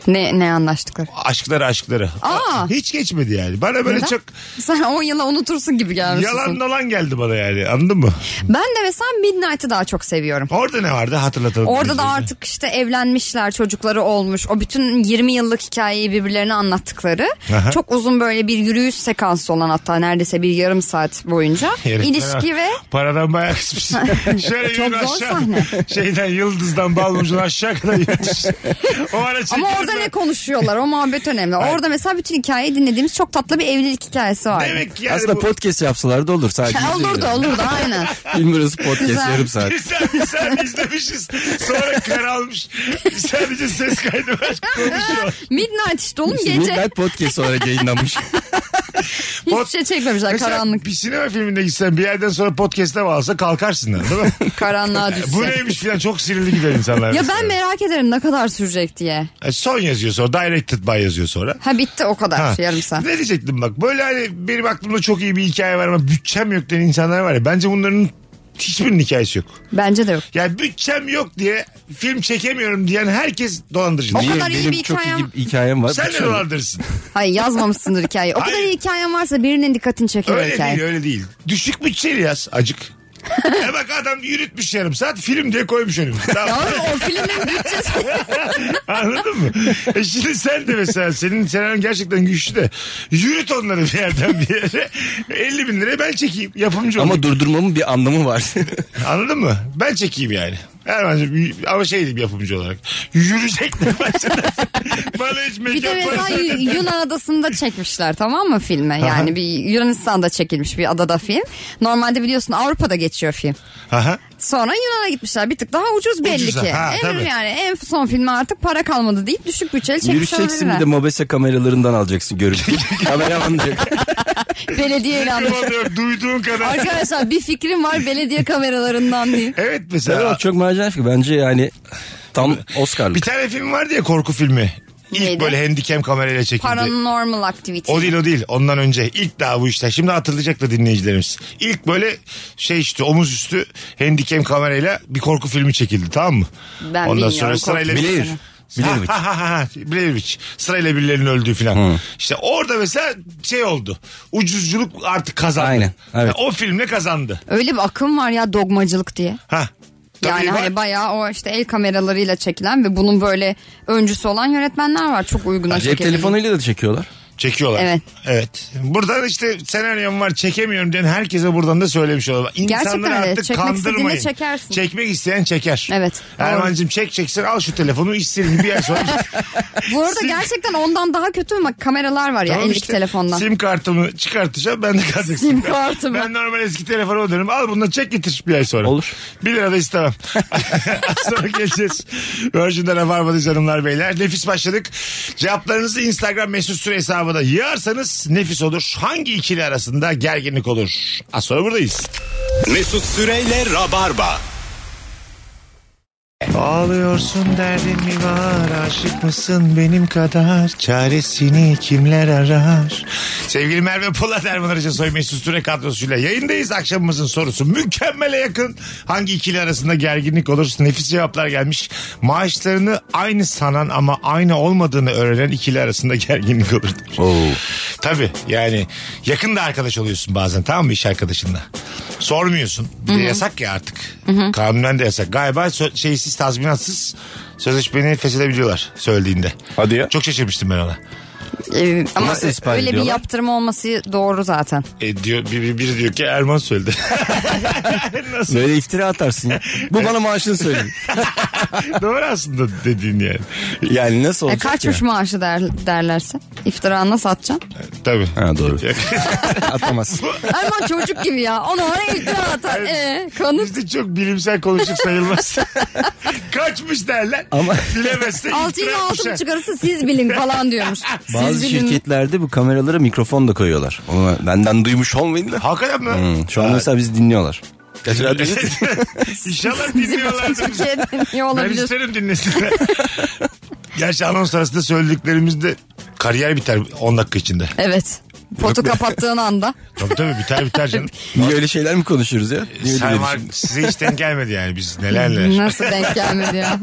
B: Ne ne anlaştıkları?
A: Aşkları aşkları.
B: Aa!
A: Hiç geçmedi yani. Bana böyle
B: Neden?
A: çok
B: Sen 10 yıla unutursun gibi gelmişsin.
A: yalan dolan geldi bana yani anladın mı?
B: Ben de mesela Midnight'ı daha çok seviyorum.
A: Orada ne vardı hatırlatalım.
B: Orada da
A: dinleyicilerimize.
B: artık işte evlenmişler, çocukları olmuş. O bütün 20 yıllık hikayeyi birbirlerine anlattıkları.
A: Aha.
B: Çok uzun böyle bir yürüyüş sekansı olan hatta neredeyse bir yarım saat boyunca.
A: Herifler
B: ilişki
A: bak,
B: ve
A: Paradan bayağı kısmış. Şöyle
B: E, Çok
A: yürü
B: zor
A: aşağı.
B: sahne.
A: Şeyden yıldızdan balmumcudan aşağı kadar yürütüş. O ara
B: ama
A: çekiyoruz
B: orada
A: ben.
B: ne konuşuyorlar o muhabbet önemli. Orada mesela bütün hikayeyi dinlediğimiz çok tatlı bir evlilik hikayesi var.
A: Demek ki yani
C: Aslında
A: bu...
C: podcast yapsalar da olur. Sadece bize
B: Olurdu
C: girelim.
B: olurdu aynen.
C: Film burası podcast
B: Güzel.
C: yarım saat.
A: Biz sadece, sadece izlemişiz. Sonra kar almış. Sadece ses kaydı var. Konuşuyor.
B: Midnight işte oğlum
C: İşte
B: gece.
C: Midnight Podcast olarak yayınlanmış.
B: Hiçbir şey çekmemişler
A: Mesela
B: karanlık.
A: bir sinema filminde gitsen bir yerden sonra podcast'e bağlasa kalkarsın lan, değil mi?
B: Karanlığa düşecek.
A: Bu neymiş falan çok sinirli gider insanlar.
B: Ya
A: mesela.
B: ben merak ederim ne kadar sürecek diye.
A: E, Son yazıyor sonra. Directed by yazıyor sonra.
B: Ha bitti o kadar
A: Ha.
B: Şey yarım saat.
A: Ne diyecektim bak böyle hani benim aklımda çok iyi bir hikaye var ama bütçem yok diyen insanlar var ya bence bunların hiçbirinin hikayesi yok.
B: Bence de yok.
A: Yani bütçem yok diye film çekemiyorum diyen herkes dolandırıcı.
B: O kadar iyi
C: Benim
B: bir
C: çok
B: hikayem-
C: iyi hikayem var.
A: Sen de
C: Şöyle-
A: dolandırırsın.
B: Hayır yazmamışsındır hikayeyi. O kadar
A: Hayır.
B: iyi hikayen varsa birinin dikkatini çeker o
A: Öyle
B: hikaye.
A: değil öyle değil. Düşük bütçeli yaz acık. e bak adam yürütmüş yarım saat film diye koymuş önümüze.
B: Ya
A: Tamam.
B: oğlum, o filmin bütçesi.
A: Anladın mı? E şimdi sen de mesela senin senaryonun gerçekten güçlü de yürüt onları bir yerden bir yere. 50 bin liraya ben çekeyim yapımcı olayım.
C: Ama durdurmamın bir anlamı var.
A: Anladın mı? Ben çekeyim yani. Erman'cığım y- ama şey diyeyim yapımcı olarak. Yürüyecekler başladı. Bana hiç mekan
B: Bir de mesela
A: parası-
B: Yu- Yunan adasında çekmişler tamam mı filme? Yani bir Yunanistan'da çekilmiş bir adada film. Normalde biliyorsun Avrupa'da geçiyor film.
A: Aha.
B: Sonra Yunan'a gitmişler. Bir tık daha ucuz belli
A: Ucuza,
B: ki.
A: ha,
B: en,
A: tabii.
B: yani en son filme artık para kalmadı deyip düşük bütçeli çekmiş
C: Yürüyeceksin
B: olabilirler.
C: bir de mobese kameralarından alacaksın görüntü. Kameraman da yok.
B: Belediye ilanı.
A: Duymadım, Duyduğun kadar.
B: Arkadaşlar bir fikrim var belediye kameralarından diye.
A: Evet mesela.
C: Evet, çok macera fikri. Bence yani tam Oscar'lık.
A: Bir tane film vardı ya korku filmi. İlk
B: Neydi?
A: böyle handicam kamerayla çekildi.
B: Paranormal activity.
A: O değil o değil. Ondan önce ilk daha bu işler. Şimdi hatırlayacak da dinleyicilerimiz. İlk böyle şey işte omuz üstü handicam kamerayla bir korku filmi çekildi tamam mı?
B: Ben
A: Ondan
B: bilmiyorum,
A: sonra
B: korku
A: sırayla...
B: filmi. Blair.
C: Blair Witch.
A: Ha, ha, ha, ha. Blair Witch. Sırayla birilerinin öldüğü falan. İşte orada mesela şey oldu. Ucuzculuk artık kazandı.
C: Aynen, evet.
A: Ya o filmle kazandı.
B: Öyle bir akım var ya dogmacılık diye.
A: Ha. Tabii
B: yani
A: var.
B: hani bayağı o işte el kameralarıyla çekilen ve bunun böyle öncüsü olan yönetmenler var. Çok uyguna
C: Cep
B: çekilen.
C: telefonuyla da çekiyorlar.
A: Çekiyorlar.
B: Evet.
A: Evet. Buradan işte senaryom var çekemiyorum diyen herkese buradan da söylemiş olalım. İnsanları
B: Gerçekten öyle.
A: artık
B: Çekmek istediğinde
A: kandırmayın.
B: çekersin.
A: Çekmek isteyen çeker.
B: Evet.
A: Erman'cığım çek çeksin al şu telefonu istediğin bir yer sonra.
B: Bu arada gerçekten ondan daha kötü ma- kameralar var ya
A: Tamam
B: eldeki
A: işte,
B: telefondan.
A: Sim kartımı çıkartacağım ben de kalacak.
B: Sim kartımı.
A: Ben normal eski telefonuma dönüyorum. Al bundan çek getir bir ay sonra.
C: Olur.
A: Bir lira da istemem. Az sonra geleceğiz. Virgin'de Rabarba'dayız hanımlar beyler. Nefis başladık. Cevaplarınızı Instagram mesut süre hesabına yığarsanız nefis olur. Hangi ikili arasında gerginlik olur? Az sonra buradayız.
F: Mesut Süreyle Rabarba.
A: Ağlıyorsun derdin mi var aşık mısın benim kadar çaresini kimler arar Sevgili Merve Polat Erman Arıca Soy Mesut Süre kadrosuyla yayındayız akşamımızın sorusu mükemmele yakın hangi ikili arasında gerginlik olur nefis cevaplar gelmiş maaşlarını aynı sanan ama aynı olmadığını öğrenen ikili arasında gerginlik olur Tabii yani yakında arkadaş oluyorsun bazen tamam mı iş arkadaşınla. Sormuyorsun. Bir de yasak ya artık. Kanunen de yasak. Galiba sö- şeysiz tazminatsız sözleşmeni feshedebiliyorlar söylediğinde.
C: Hadi ya.
A: Çok şaşırmıştım ben ona.
B: Ee, ama
C: Nasıl ispat
B: öyle bir
C: ediyorlar?
B: yaptırma olması doğru zaten.
A: E, diyor, bir- bir- biri diyor ki Erman söyledi.
C: Böyle iftira atarsın ya. Bu bana maaşını söyle.
A: Doğru aslında dediğin yani.
C: Yani nasıl
B: E,
C: olacak
B: kaçmış
C: ya?
B: maaşı der, derlerse. İftira nasıl atacaksın?
A: Tabii.
C: Ha doğru. Atamaz.
B: Erman çocuk gibi ya. Ona oraya iftira atar. E, kanıt.
A: Bizde çok bilimsel konuşup sayılmaz. Kaçmış derler. Ama
C: Ama-
A: bilemezse
B: Altı ile
A: iftira
B: altı
A: atmışlar.
B: mı çıkarırsa siz bilin falan diyormuş.
C: Bazı
B: siz bilin.
C: şirketlerde bu kameralara mikrofon da koyuyorlar. Ama benden duymuş olmayın da.
A: Hakikaten mi?
C: Hmm, şu an mesela bizi dinliyorlar.
A: İnşallah
B: Bizim başımıza
A: dinliyorlardır.
B: bir şey deniyor
A: Ben
B: olabilir.
A: isterim dinlesinler. Gerçi anons arasında söylediklerimizde kariyer biter 10 dakika içinde.
B: Evet. Foto kapattığın anda.
A: Tabii tabii biter biter canım.
C: Niye öyle şeyler mi konuşuyoruz ya? Niye öyle
A: Sayın
C: bir
A: Mark,
C: şey-
A: size hiç denk gelmedi yani biz neler neler.
B: Nasıl denk gelmedi ya?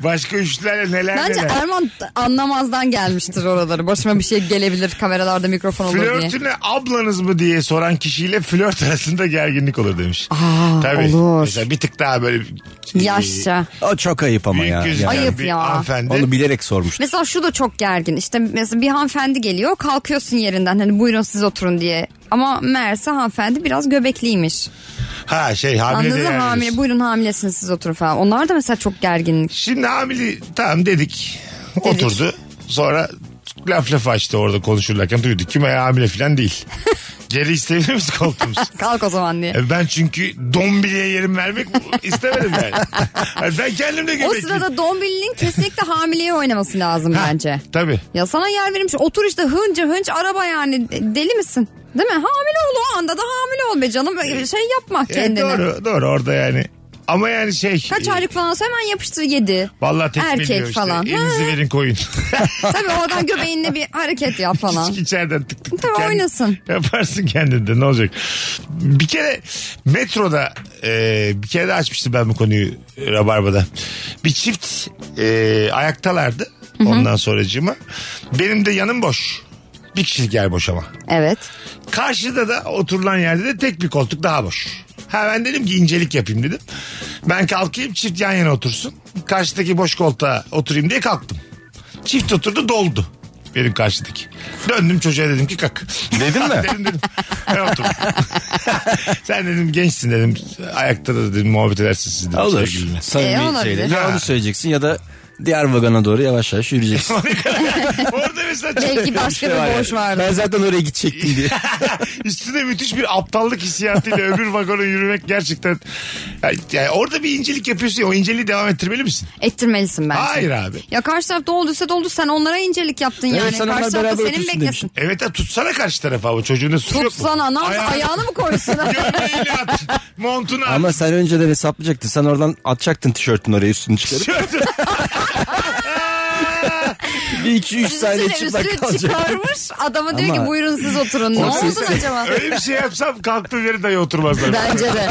A: Başka üçlerle neler
B: Bence
A: neler.
B: Erman anlamazdan gelmiştir oraları. Başıma bir şey gelebilir kameralarda mikrofon olur diye.
A: Flörtüne ablanız mı diye soran kişiyle flört arasında gerginlik olur demiş.
B: Aa,
A: Tabii.
B: olur.
A: Mesela bir tık daha böyle e,
B: Yaşça.
C: O çok ayıp ama
A: büyük
C: ya.
A: gözüken
C: Yani
B: Ayıp
A: bir
B: ya.
A: hanımefendi.
C: Onu bilerek sormuş.
B: Mesela şu da çok gergin. İşte mesela bir hanımefendi geliyor kalkıyorsun yerinden hani buyurun siz oturun diye. Ama meğerse hanımefendi biraz göbekliymiş.
A: Ha şey hamile de
B: Anladın mı?
A: yani.
B: Hamile, buyurun hamilesiniz siz oturun falan. Onlar da mesela çok gerginlik.
A: Şimdi hamile tamam dedik. Oturdu. Sonra laf laf açtı orada konuşurlarken duyduk ki meğer hamile falan değil. Geri isteyebilir miyiz koltuğumuzu?
B: Kalk o zaman diye.
A: E Ben çünkü dombiliye yerim vermek istemedim yani. Yani ben kendim de
B: O
A: göbekliyim.
B: sırada Dombili'nin kesinlikle hamileye oynaması lazım
A: Ha,
B: bence.
A: Tabii.
B: Ya sana yer verilmiş otur işte hınca hınç araba yani De- deli misin? Değil mi? Hamile ol o anda da hamile ol be canım. Ee, Şey yapma
A: E,
B: kendini.
A: doğru doğru orada yani. Ama yani şey.
B: Kaç
A: e,
B: aylık falan sonra hemen yapıştır yedi.
A: Vallahi tekmeliyor
B: Erkek
A: işte.
B: falan.
A: Elinizi
B: Ha.
A: verin koyun.
B: Tabii oradan göbeğinle bir hareket yap falan.
A: İçeriden tık tık tık.
B: Tabii
A: kendin-
B: oynasın.
A: Yaparsın kendinde ne olacak. Bir kere metroda e, bir kere de açmıştım ben bu konuyu e, Rabarba'da. Bir çift e, ayaktalardı ondan sonracığıma. Benim de yanım boş. Bir kişilik yer boş ama.
B: Evet.
A: Karşıda da oturulan yerde de tek bir koltuk daha boş. Ha ben dedim ki incelik yapayım dedim. Ben kalkayım çift yan yana otursun. Karşıdaki boş koltuğa oturayım diye kalktım. Çift oturdu doldu. Benim karşıdaki. Döndüm çocuğa dedim ki kalk.
C: Dedin mi?
A: dedim dedim. Ben oturdum. Sen dedim gençsin dedim. Ayakta da dedim muhabbet edersiniz siz dedim.
C: Olur.
A: sevgilinle.
B: E,
C: Samimi
B: olabilir.
C: şeyle. Ya
A: Ha.
C: onu söyleyeceksin ya da diğer vagona doğru yavaş yavaş yürüyeceksin.
A: Orada mesela çok-
B: Belki başka bir boş vardı.
C: Ben zaten oraya gidecektim diye.
A: Üstüne müthiş bir aptallık hissiyatıyla öbür vagona yürümek gerçekten... Yani, yani orada bir incelik yapıyorsun ya, o inceliği devam ettirmeli misin?
B: Ettirmelisin bence.
A: Hayır abi.
B: Ya karşı taraf dolduysa doldu sen onlara incelik yaptın
C: Evet,
B: yani.
C: sen onlar
B: Karşı taraf da
C: beraber
B: senin
C: otursun
B: beklesin.
A: Evet ya tutsana karşı tarafa bu çocuğun da suçu yok mu?
B: Tutsana ne yapsın
A: Ayağı-
B: ayağını mı koysun?
A: Gömleğini at. Montunu at.
C: Ama sen önceden hesaplayacaktın. Sen oradan atacaktın tişörtün oraya üstünü çıkarıp.
A: Tişörtü-
C: Bir iki üç saniye
B: Üstüne
C: çıplak
B: üstüne
C: kalacak.
B: çıkarmış adama diyor
C: Ama-
B: ki buyurun siz oturun. Ne
C: Olsun.
B: oldu acaba?
A: Öyle bir şey yapsam kalktığım yere dayı oturmazlar.
B: Bence de.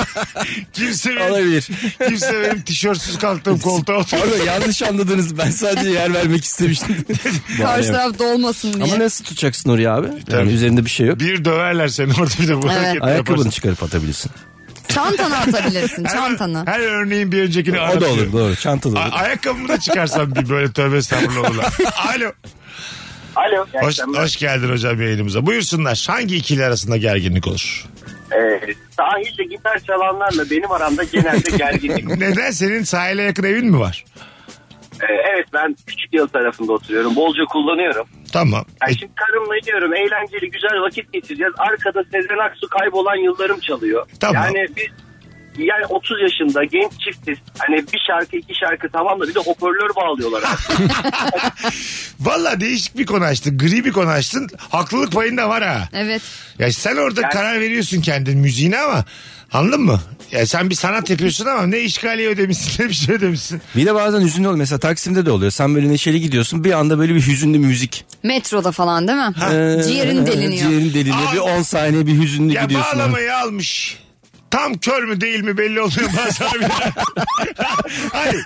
A: Kimse benim,
C: Olabilir.
A: kimse benim tişörtsüz kalktığım koltuğa oturmaz.
C: Pardon yanlış anladınız. Ben sadece yer vermek istemiştim.
B: Karşı taraf dolmasın diye.
C: Ama nasıl tutacaksın oraya abi?
A: Tabii.
C: Yani üzerinde bir şey yok.
A: Bir döverler seni orada bir de bu
B: Evet.
A: hareketi
C: Ayakkabını
A: yaparsın.
C: çıkarıp atabilirsin.
B: Çantanı atabilirsin
A: Her-
B: çantanı.
A: Her örneğin bir öncekini
C: O da
A: aratıyor.
C: olur doğru. Çanta da
A: A-
C: olur.
A: ayakkabımı da çıkarsam bir böyle tövbe estağfurullah olurlar. Alo.
D: Alo.
A: Hoş, hoş geldin hocam yayınımıza. Buyursunlar. Hangi ikili arasında gerginlik olur?
D: Ee, sahilde gitar çalanlarla benim aramda genelde gerginlik.
A: Neden? Senin sahile yakın evin mi var?
D: Ee, evet ben küçük yıl tarafında oturuyorum. Bolca kullanıyorum.
A: Tamam. E,
D: Yani şimdi karımla gidiyorum. Eğlenceli güzel vakit geçireceğiz. Arkada Sezen Aksu kaybolan yıllarım çalıyor.
A: Tamam.
D: Yani biz yani 30 yaşında genç çiftiz. Hani bir şarkı iki şarkı tamam da bir de hoparlör bağlıyorlar.
A: Valla değişik bir konu açtın. Gri bir konu açtın. Haklılık payın da var ha.
B: Evet.
A: Ya sen orada
D: Yani-
A: karar veriyorsun kendin müziğine ama anladın mı? Ya sen bir sanat yapıyorsun ama ne işgaliye ödemişsin ne bir şey ödemişsin.
C: Bir de bazen hüzünlü oluyor. Mesela Taksim'de de oluyor. Sen böyle neşeli gidiyorsun. Bir anda böyle bir hüzünlü müzik. Ee,
B: Metroda falan değil mi? Ah,
A: Ee,
B: Ciğerin deliniyor.
C: Ciğerin deliniyor.
A: Aa.
C: Bir 10 saniye bir hüzünlü
A: Ya
C: gidiyorsun.
A: bağlamayı almış. Tam kör mü değil mi belli olmuyor bazen bir Hayır.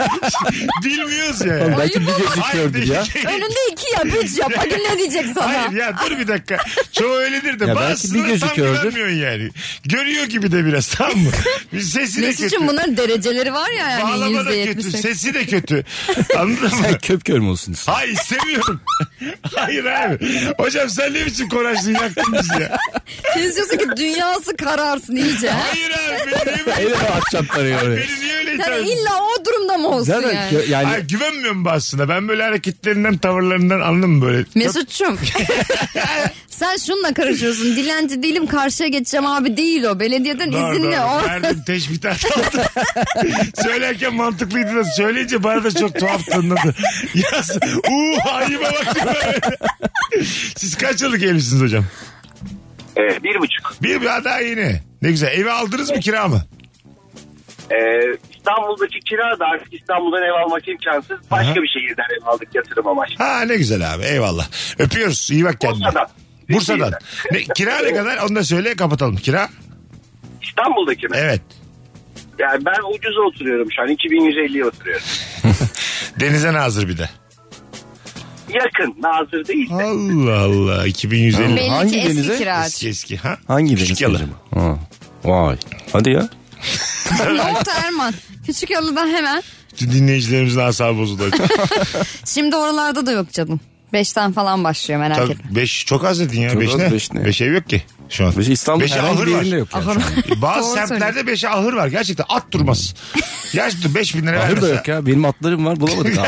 A: Bilmiyoruz ya.
C: Oğlum Belki bir gözü
A: Hayır,
C: kördür ya.
A: değil.
B: Önünde iki ya üç yap. Hadi ne diyecek sana?
A: Hayır ya dur bir dakika. Çoğu öyledir de
C: Ya belki
A: bazısını
C: bir gözü
A: tam
C: kördür.
A: görmüyorsun yani. Görüyor gibi de biraz tamam mı? Bir Sesi de kötü.
B: Mesut'cum bunların dereceleri var ya yani
A: Bağlama da
B: yüzde
A: kötü.
B: yetmiş.
A: Sesi de kötü. Anladın mı?
C: Sen köp kör mü olsun istiyorsun?
A: Hayır seviyorum. Hayır abi. Hocam sen ne biçim konuştun yaktın bizi ya.
B: Siz diyorsun ki dünyası kararsın iyice. ha?
A: şey- Hayır abi beni niye böyle,
C: Eyle atacağım parayı oraya.
A: beni niye öyle
B: Yani
A: itham
B: illa o durumda mı olsun
C: Zaten
B: yani?
C: kö- yani
A: Ay, güvenmiyorum bu aslında. Ben böyle hareketlerinden, tavırlarından anladın mı böyle?
B: Mesut'cum sen şununla karışıyorsun. Dilenci değilim karşıya geçeceğim abi değil o. Belediyeden
A: Doğru,
B: izinli.
A: doğru.
B: O-
A: Verdim teşbihat aldım. Söylerken mantıklıydı da söyleyince bana da çok tuhaf tınladı. Yaz. Uuu ayıma bak. Siz kaç yıllık evlisiniz hocam?
D: ee, bir buçuk.
A: Bir bir- daha yeni. Ne güzel. Evi aldınız mı kira mı?
D: Ee, İstanbul'daki kira da artık İstanbul'dan ev almak imkansız. Başka
A: Aha.
D: bir şehirden ev aldık yatırım amaçlı.
A: Ha ne güzel abi eyvallah. Öpüyoruz iyi bak kendine.
D: Bursa'dan.
A: Bursa'dan. Ne, kira ne kadar onu da söyle kapatalım. Kira
D: İstanbul'daki mi?
A: evet.
D: Yani ben ucuza oturuyorum şu an. 2150'ye oturuyorum.
A: Denize nazır bir de.
D: Yakın. Nazır değil. de.
A: Allah Allah 2150
B: Belli
C: Hangi
B: ki eski
C: denize?
B: kiracı.
A: eski eski. Ha?
C: hangi
A: Küçük
C: deniz
A: yalı.
C: acaba? Ha. Vay. Hadi ya.
B: ne oldu Erman? Küçük yalıdan hemen.
A: Bütün Dinleyicilerimizin asabı bozuldu.
B: Şimdi oralarda da yok canım. Beşten falan başlıyor merak
A: Tabii
B: etme.
A: beş çok az dedin ya.
C: Çok
A: Beş
C: az,
A: ne? Beş,
C: beş ne?
A: ev yok ki şu an.
C: Beşi İstanbul
A: Beşe ahır
C: herhangi bir
A: var.
C: yerinde yok. Yani
B: Ahır.
C: şu an.
A: Bazı
B: Doğru
A: semtlerde beşe ahır var. Gerçekten at durmaz. Gerçekten beş bin lira
C: Ahır da
A: vermese.
C: yok ya. Benim atlarım var bulamadık. Aa,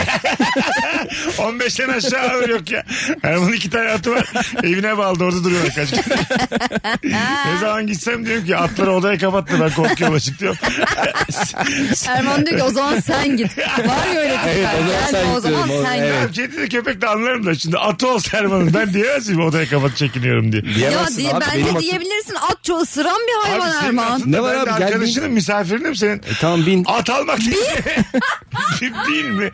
A: 15'ten aşağı ağır yok ya. Erman'ın iki tane atı var. Evine bağlı orada duruyorlar kaç gün. ne zaman gitsem diyorum ki atları odaya kapattı ben korkuyorum açık diyorum.
B: Erman diyor ki o zaman sen git. Var ya öyle tipler.
C: Evet,
B: Gelme, o
C: o zaman sen
B: zaman
C: gidiyorum, o-
B: sen
C: evet.
B: git.
A: Ya Kedi de şey köpek de anlarım da şimdi atı olsa Erman'ın ben diyemez miyim odaya kapat çekiniyorum diye.
B: Ya
C: Diyemezsin
B: diye,
C: abi.
B: bence
C: Benim atım-
B: diyebilirsin atço ısıran bir
A: Abi
B: hayvan
A: senin
B: Erman.
A: atın da
C: Ne var
A: ben de
C: abi, gel
A: Arkadaşının misafirinim senin.
C: E, Tamam bin.
A: At almak değil. Değil mi?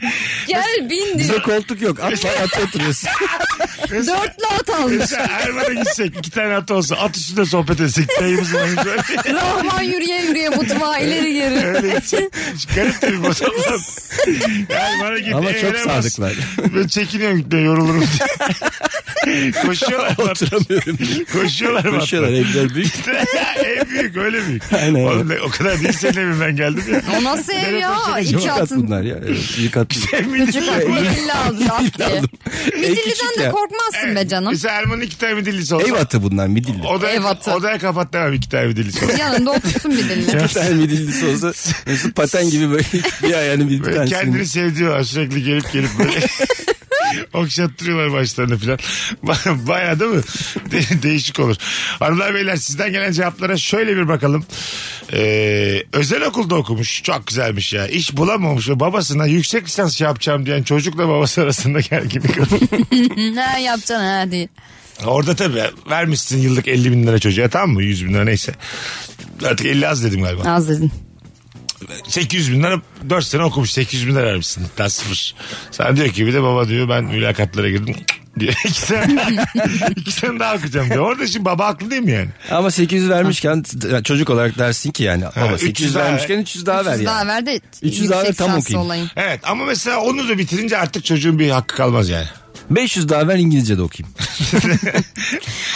B: Gel bin
C: Bize
B: diyor.
C: koltuk yok. At var at oturuyorsun.
A: Mesela-
B: Dörtlü at almış.
A: Mesela Erman'a gitsek iki tane at olsa at üstünde sohbet etsek. Dayımızın önünde böyle.
B: Rahman yürüye yürüye mutfağa ileri geri.
A: Öyle gitsin. Garip tabii bu adamlar. Yani bana git
C: Ama
A: eve
C: çok
A: veremez.
C: sadıklar.
A: Ben çekiniyorum gitmeye yorulurum diye. Koşuyorlar.
C: Oturamıyorum.
A: Koşuyorlar. mı?
C: Koşuyorlar evler büyük.
A: en büyük öyle büyük.
C: Aynen,
A: Oğlum, o kadar değil senin evinden geldim ya.
B: O nasıl ev
A: Nereye
B: ya?
A: koşarak
B: İki
C: Çok at
B: atın.
C: bunlar ya. Evet, büyük at.
B: Küçük
A: şey.
B: at. Midilli aldı. at diye. Midilliden
C: küçük
B: de
C: ya.
B: korkmazsın be canım.
A: Mesela Erman'ın iki tane midillisi olsa.
C: Ev atı bunlar midilli.
A: Odaya,
B: Ev atı.
A: odaya kapat demem iki tane midillisi olsa.
B: Yanında otursun midilli.
C: Bir tane midillisi olsa Mesut paten gibi böyle bir ayağını bir, bir
A: Böyle kendini
C: tanesini.
A: seviyorlar sürekli gelip gelip böyle. Okşattırıyorlar başlarını filan. Ba- Bayağı değil mi? De- değişik olur. Hanımlar beyler sizden gelen cevaplara şöyle bir bakalım. Ee, özel okulda okumuş. Çok güzelmiş ya. İş bulamamış. ve Babasına yüksek lisans yapacağım diyen çocukla babası arasında gerginlik olur.
C: Şey-
B: ne yapacaksın ha diye.
A: Orada tabii vermişsin yıllık 50 bin lira çocuğa tamam mı? 100 bin lira neyse. Artık 50 az dedim galiba.
B: Az dedin.
A: 800 bin lira 4 sene okumuş 800 bin lira vermişsin daha sıfır. Sana diyor ki bir de baba diyor ben mülakatlara girdim diyor. iki sene, iki sene daha okuyacağım diyor. Orada şimdi baba haklı değil mi yani?
C: Ama 800 vermişken yani çocuk olarak dersin ki yani baba
A: 300
C: 800
A: daha-
C: vermişken 300 daha ver
B: 300 daha
C: yani.
B: ver de
C: 300 daha ver,
B: yüksek
C: tam
B: lisanslı
C: okuyayım.
B: olayım.
A: Evet ama mesela onu da bitirince artık çocuğun bir hakkı kalmaz yani.
C: 500 daha ver İngilizce de okuyayım.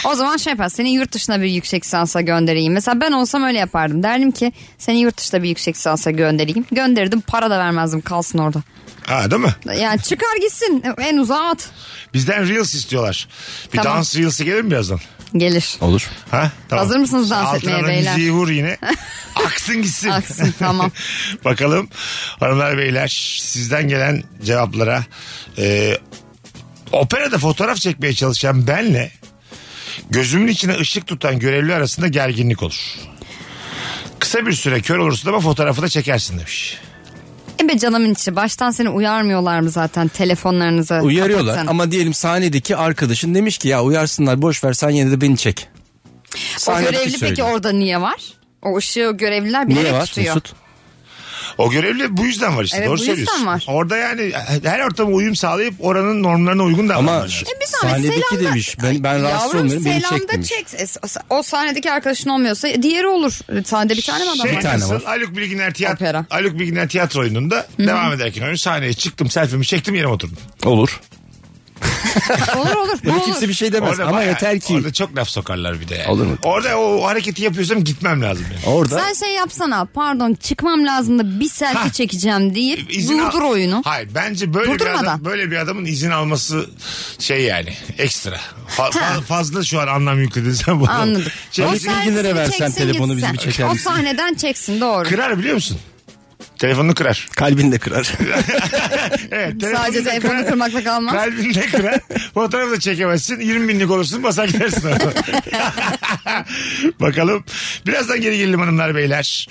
B: O zaman şey yapar seni yurt dışına bir yüksek lisansa göndereyim. Mesela ben olsam öyle yapardım. Derdim ki seni yurt dışına bir yüksek lisansa göndereyim. Gönderirdim para da vermezdim kalsın orada.
A: Ha değil mi?
B: Yani çıkar gitsin en uzağa at.
A: Bizden Reels istiyorlar. Bir
B: Tamam.
A: dans Reels'i gelir mi birazdan?
B: Gelir.
C: Olur.
A: Ha? Tamam.
B: Hazır mısınız dans
A: Altına
B: etmeye
A: da
B: beyler?
A: müziği vur yine. Aksın gitsin.
B: Aksın, tamam.
A: Bakalım hanımlar beyler sizden gelen cevaplara. Ee, operada fotoğraf çekmeye çalışan benle gözümün içine ışık tutan görevli arasında gerginlik olur. Kısa bir süre kör olursun ama fotoğrafı da çekersin demiş.
B: E be canımın içi baştan seni uyarmıyorlar mı zaten telefonlarınıza?
C: Uyarıyorlar
B: Kapatın.
C: ama diyelim sahnedeki arkadaşın demiş ki ya uyarsınlar boş ver sen yine de beni çek.
B: o
C: Sahnedeki
B: görevli peki
C: söylüyor.
B: orada niye var? O ışığı görevliler bilerek
C: Niye var
B: tutuyor.
C: Mesut?
A: O görevli bu yüzden var işte
B: Evet,
A: doğru
B: bu yüzden
A: söylüyorsun.
B: var.
A: Orada yani her ortama uyum sağlayıp oranın normlarına uygun davranman
C: Ama
A: lazım.
B: E bir saniye,
C: sahnedeki
B: selamda-
C: demiş ben, ben rahatsız
B: Yavrum
C: olmuyorum beni
B: selamda
C: çek demiş.
B: çek. E, s- O sahnedeki arkadaşın olmuyorsa e, diğeri olur. E, Sahnede bir tane mi adam?
A: Şey
C: Bir tane
A: nasıl?
C: var.
A: Haluk Bilginer tiyatro,
B: Opera.
A: Haluk Bilginer tiyatro oyununda devam ederken oyun sahneye çıktım selfie'mi çektim yerime oturdum.
C: Olur.
B: olur olur. Bu
C: Bunu
B: olur.
C: kimse bir şey demez ama
A: bayağı-
C: yeter ki.
A: Orada çok laf sokarlar bir de. yani.
C: Olur mu?
A: Orada o hareketi yapıyorsam gitmem lazım yani.
C: Orada
B: Sen şey yapsana pardon çıkmam lazım da bir selfie
A: Ha.
B: çekeceğim deyip
A: İzin al-
B: durdur oyunu.
A: Hayır bence böyle bir,
B: Durdurmadan.
A: adam- böyle bir adamın izin alması şey yani ekstra. Fa- fa- fazla şu an anlam yükledin sen bunu.
B: Anladım.
A: Şey,
B: O
A: bizi
C: sen-
B: selfie'sini
C: ilgilere versen
B: çeksin
C: telefonu
B: gitsin.
C: bizi bir çeker misin?
B: O sahneden çeksin doğru.
A: kırar biliyor musun? Telefonunu kırar.
C: kalbin de kırar.
A: Evet,
B: Sadece
A: da
B: telefonu
A: kırar.
B: kırmakla kalmaz.
A: Kalbinde kırar. Fotoğrafı da çekemezsin. 20 binlik olursun basar gidersin. Bakalım. Birazdan geri gelelim hanımlar beyler.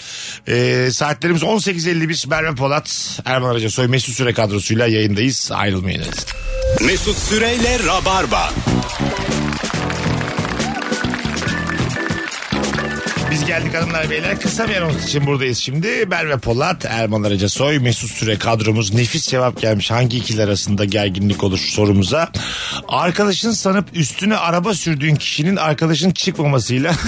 A: Ee, saatlerimiz 18.51. Merve Polat, Erman Araca Soy Mesut Süre kadrosuyla yayındayız. Ayrılmayınız.
F: Mesut Süreyle Rabarba.
A: Biz geldik hanımlar beyler. Kısa bir anons için buradayız şimdi. Merve Polat, Erman Araca Soy, Mesut Süre kadromuz. Nefis cevap gelmiş. Hangi ikili arasında gerginlik olur sorumuza. Arkadaşın sanıp üstüne araba sürdüğün kişinin arkadaşın çıkmamasıyla.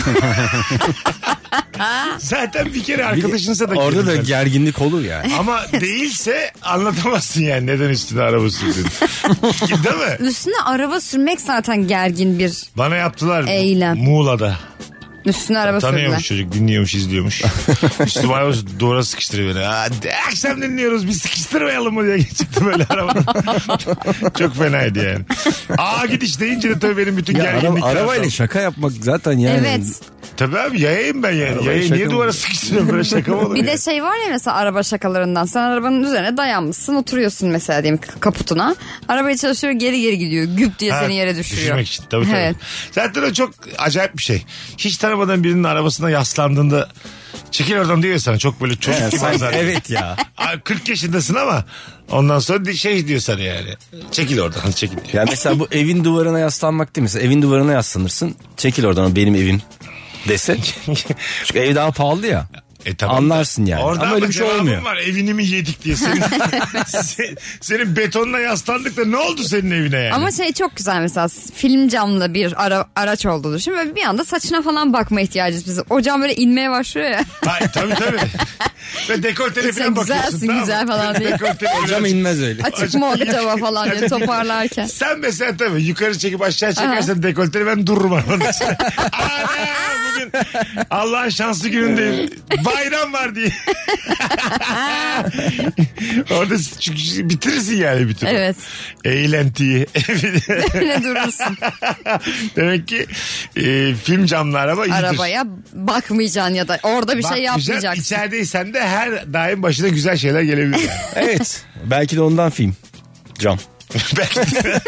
A: Zaten bir kere arkadaşınsa da
C: Orada da
A: gerginlik.
C: gerginlik olur ya.
A: Ama değilse anlatamazsın yani neden üstüne araba sürdüğünü. Değil mi?
B: Üstüne araba sürmek zaten gergin bir
A: Bana yaptılar
B: Eylem.
A: Muğla'da.
B: üstüne araba sürme.
A: Tanıyormuş çocuk dinliyormuş izliyormuş. Üstüme araba duvara sıkıştırıyor beni. Aa, de- akşam dinliyoruz biz sıkıştırmayalım mı diye çıktı böyle arabadan. Çok fenaydı yani. Aa gidiş deyince de tabii benim bütün
C: Ya
A: gerginlikler.
C: araba, arabayla şaka yapmak zaten yani.
B: Evet.
A: Tabii abi yayayım ben yani.
C: Arabayla
A: Yayayım
C: şaka
A: niye
C: mı?
A: duvara sıkıştırıyorum böyle şaka mı olur?
B: Bir
A: ya?
B: de şey var ya mesela araba şakalarından. Sen arabanın üzerine dayanmışsın oturuyorsun mesela diyelim k- kaputuna. Arabaya çalışıyor geri geri gidiyor. Güp diye
A: Ha,
B: seni yere düşürüyor.
A: Düşürmek için tabii tabii.
B: Evet.
A: Zaten o çok acayip bir şey. Hiç tanımadan birinin arabasına yaslandığında çekil oradan diyor ya sana çok böyle çocuk
C: Yani
A: gibi
C: sen-
A: azar.
C: evet ya.
A: Abi 40 yaşındasın ama ondan sonra di- şey diyor sana yani. Çekil oradan çekil. diyor.
C: Ya mesela bu evin duvarına yaslanmak değil mi? Mesela evin duvarına yaslanırsın. Çekil oradan o benim evim dese. Çünkü ev daha pahalı ya.
A: E tamam da-
C: Anlarsın yani.
A: Orada
C: Ama öyle bir şey
A: cevabın
C: olmuyor.
A: var evini mi yedik diye. Senin, se- senin betonla yaslandık da ne oldu senin evine yani?
B: Ama şey çok güzel mesela film camlı bir ara- araç olduğunu düşün. Böyle bir anda saçına falan bakma ihtiyacımız biz. O cam böyle inmeye başlıyor ya.
A: Hayır, tabii tabii. Ve dekoltene
B: E Sen
A: falan bakıyorsun.
B: güzelsin,
A: tamam mı?
B: güzel falan diye.
A: Dekoltene biraz-
C: Hocam inmez öyle.
B: Açık mı oldu acaba falan diye toparlarken.
A: Sen mesela tabii yukarı çekip aşağı çekersen dekolteni ben dururum arabanın içinde. Ana bugün Allah'ın şanslı günündeyim. Bayram var diye. Orada çünkü bitirirsin yani bütün.
B: Evet.
A: Eğlentiyi.
B: ne durursun.
A: Demek ki e, film camlı araba iyidir.
B: Arabaya bakmayacaksın ya da orada bir şey
A: Bakmayacaksın,
B: yapmayacaksın.
A: İçerideysen de her daim başına güzel şeyler gelebilir.
C: Evet. Belki de ondan film. Cam.
A: Belki de.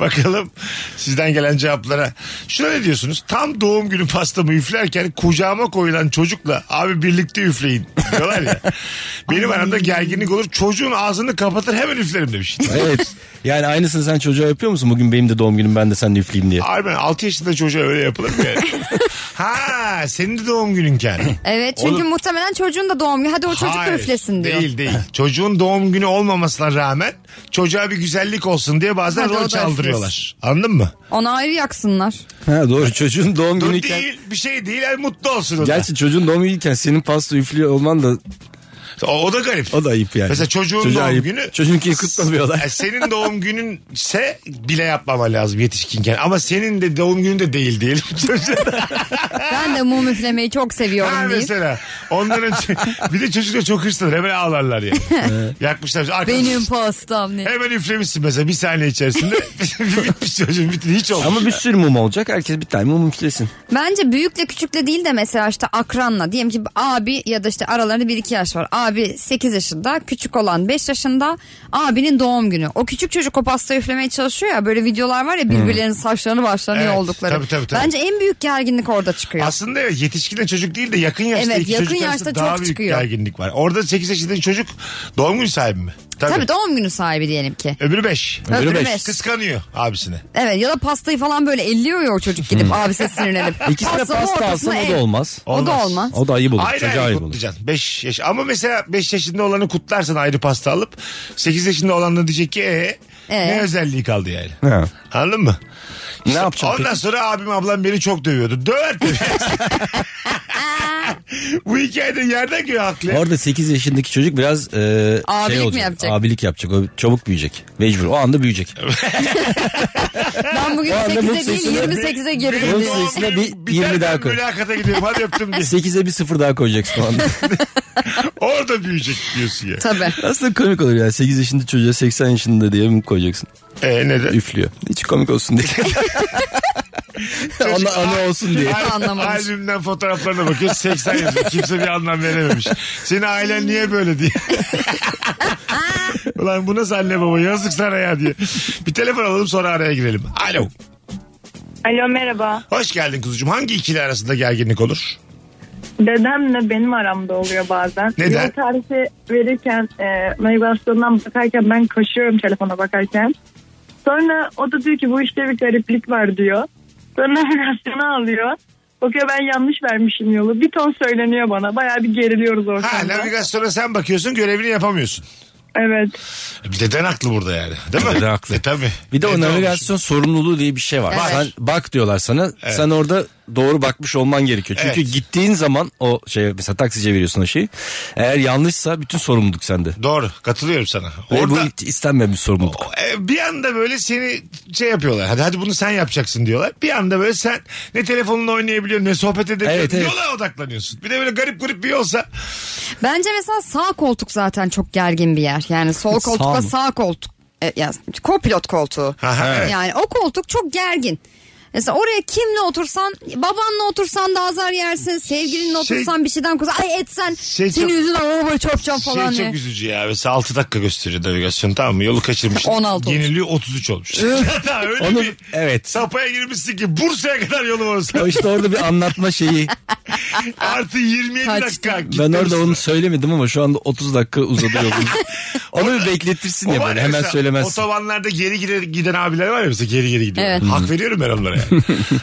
A: Bakalım sizden gelen cevaplara. Şuna ne diyorsunuz? Tam doğum günü pastamı üflerken kucağıma koyulan çocukla abi birlikte üfleyin diyorlar ya. Benim aramda gerginlik olur. Çocuğun ağzını kapatır hemen üflerim demiş.
C: Evet. Yani aynısını sen çocuğa yapıyor musun? Bugün benim de doğum günüm ben de sen de üfleyeyim diye.
A: Harbiden 6 yaşında çocuğa öyle yapılır mı yani? ha senin de doğum gününken.
B: Evet çünkü muhtemelen çocuğun da doğum günü. Hadi o çocuk da
A: Hayır,
B: üflesin diyor.
A: Değil değil. Çocuğun doğum günü olmamasına rağmen çocuğa bir güzellik olsun diye bazen
B: Hadi o
A: rol
B: da
A: çaldırıyorlar. Anladın mı?
B: Onu ayrı yaksınlar.
C: Ha, doğru çocuğun doğum
A: Dur
C: günüyken.
A: değil bir şey değil yani mutlu olsun o da.
C: Gerçi çocuğun doğum günüyken senin pasta üflüyor olman da
A: O, o da garip.
C: o da ayıp yani.
A: Mesela çocuğun
C: Çocuğa
A: doğum
C: ayıp.
A: günü-
C: Çocuğunkini kutlamıyorlar.
A: Yani senin doğum gününse bile yapmama lazım yetişkinken. Ama senin de doğum günün de değil diyelim.
B: Ben de mum üflemeyi çok
A: ha
B: seviyorum deyip.
A: mesela. Ondan önce bir de çocuklar çok hırslıdır. Hemen ağlarlar yani. Yakmışlar. Arkadaş,
B: Benim pastam ne?
A: Hemen üflemişsin mesela bir saniye içerisinde. Bitmiş çocuğun bitti hiç olmadı.
C: Ama bir sürü mum olacak. Herkes bir tane mum üflesin.
B: Bence büyükle küçükle değil de mesela işte akranla diyelim ki abi ya da işte aralarında 1-2 yaş var. Abi 8 yaşında küçük olan 5 yaşında abinin doğum günü. O küçük çocuk o pastayı üflemeye çalışıyor ya böyle videolar
C: Hmm.
B: var ya birbirlerinin saçlarını başlarını
A: Evet,
B: yoldukları.
A: tabii, tabii, tabii.
B: Bence en büyük gerginlik orada çıkıyor.
A: Aslında evet, yetişkinle çocuk değil de yakın yaşta
B: Evet,
A: iki
B: yakın
A: çocuk
B: yaşta
A: arasında
B: çok
A: daha büyük
B: çıkıyor.
A: gerginlik var. Orada 8 yaşındaki çocuk doğum günü sahibi mi? Tabii.
B: tabii. doğum günü sahibi diyelim ki.
A: Öbürü 5.
B: Öbürü Öbürü beş. beş.
A: Kıskanıyor abisine.
B: Evet ya da pastayı falan böyle elliyor ya o çocuk gidip abisine sinirlenip.
C: İkisine
B: Pastanın
C: Hmm. pasta
B: ortasına
C: alsın o
B: el.
C: da olmaz.
B: O da olmaz.
C: O da ayıp olur.
A: Ayrı
C: Çocuğa
A: ayrı
C: ayıp olur.
A: kutlayacaksın. 5 yaş. Ama mesela 5 yaşında olanı kutlarsan ayrı pasta alıp 8 yaşında olan da diyecek ki ee,
B: Ee?
A: ne özelliği kaldı yani.
C: Ha.
A: Anladın mı?
C: Ne yapacağım
A: Ondan
C: peki?
A: sonra abim ablam beni çok dövüyordu. Döver tabii. Bu hikayede yerden göğe haklı.
C: Orada 8 yaşındaki çocuk biraz e,
B: Abilik
C: şey
B: mi
C: olacak.
B: yapacak?
C: Abilik yapacak. O çabuk büyüyecek. Mecbur. O anda büyüyecek.
B: Ben bugün
C: O anda
B: 8'e
C: mutlu
B: değil
C: yaşında-
B: 28'e
A: Benim
B: geri
C: Onun
B: döndüm.
A: doğum
C: sayısına
A: günüm
C: bir
A: biter,
C: 20 daha
A: ben
C: koy.
A: Mülakata gidiyorum hadi öptüm diye.
C: 8'e bir sıfır daha koyacaksın o anda.
A: Orada büyüyecek diyorsun ya.
B: Tabii.
C: Aslında komik olur ya. 8 yaşında çocuğa 80 yaşında diye mi koyacaksın?
A: Ee, neden?
C: Üflüyor. Hiç komik olsun diye. ana, ana olsun diye.
A: Al-
B: Anlamamış.
A: Albümden fotoğraflarına bakıyoruz 80 yazıyor. Kimse bir anlam verememiş. Senin ailen niye böyle diye. Ulan bu nasıl anne baba yazık sana ya diye. Bir telefon alalım sonra araya girelim. Alo.
G: Alo merhaba.
A: Hoş geldin kuzucuğum. Hangi ikili arasında gerginlik olur?
G: Dedemle benim aramda oluyor bazen.
A: Neden?
G: Yol tarifi verirken e, navigasyondan bakarken ben koşuyorum telefona bakarken. Sonra o da diyor ki bu işte bir gariplik var diyor. Sonra navigasyonu alıyor. Bakıyor ben yanlış vermişim yolu. Bir ton söyleniyor bana. Bayağı bir geriliyoruz
A: Ha
G: ortamda.
A: navigasyona sen bakıyorsun görevini yapamıyorsun. E,
G: evet.
A: Deden haklı burada yani. Değil mi?
C: Deden haklı.
A: E, tabii.
C: Bir de o
A: Dede
C: navigasyon sorumluluğu diye bir şey var.
B: Evet.
C: Sen bak diyorlar sana.
A: Evet.
C: Sen orada doğru bakmış olman gerekiyor. Çünkü
A: Evet.
C: gittiğin zaman o şey mesela taksiye veriyorsun o şeyi. Eğer yanlışsa bütün sorumluluk sende.
A: olmuş. Doğru katılıyorum sana.
C: Ve bu
A: Orada
C: hiç istenmeyen bir sorumluluk.
A: E, bir anda böyle seni şey yapıyorlar. Hadi hadi bunu sen yapacaksın diyorlar. Bir anda böyle sen ne telefonla oynayabiliyorsun ne sohbet edebiliyorsun.
C: Evet, evet.
A: Yola odaklanıyorsun. Bir de böyle garip garip bir olsa
B: Bence mesela sağ koltuk zaten çok gergin bir yer. Yani sol
C: Sağ
B: koltukla
C: mı?
B: sağ koltuk. E, ya, kopilot koltuğu.
A: Aha, evet.
B: Yani o koltuk çok gergin. Mesela oraya kimle otursan, babanla otursan da azar yersin, sevgilinle otursan bir şeyden korkar. Ay etsen,
A: Şey
B: senin
A: çok-
B: yüzünden oh, araba çarpacağım falan hani.
A: şey
B: diye.
A: çok üzücü ya. Mesela 6 dakika gösteriyor navigasyon tamam mı? Yolu kaçırmış.
B: 16 olmuş.
A: Yeniliyor 33 olmuş. tamam, öyle
C: Onu
A: bir
C: evet.
A: sapaya girmişsin ki Bursa'ya kadar yolum orası.
C: O işte orada bir anlatma şeyi.
A: Artı 27
B: Kaçtı.
A: dakika.
C: Ben
A: Gitmemiz-
C: orada onu söylemedim ama şu anda 30 dakika uzadı yolumuz. onu bir bekletirsin
A: O
C: ya
A: var
C: böyle
A: ya
C: hemen
A: mesela,
C: söylemezsin.
A: Otobanlarda geri giden, giden abiler var ya mesela geri geri gidiyor.
B: Evet.
A: Hak veriyorum ben onlara yani.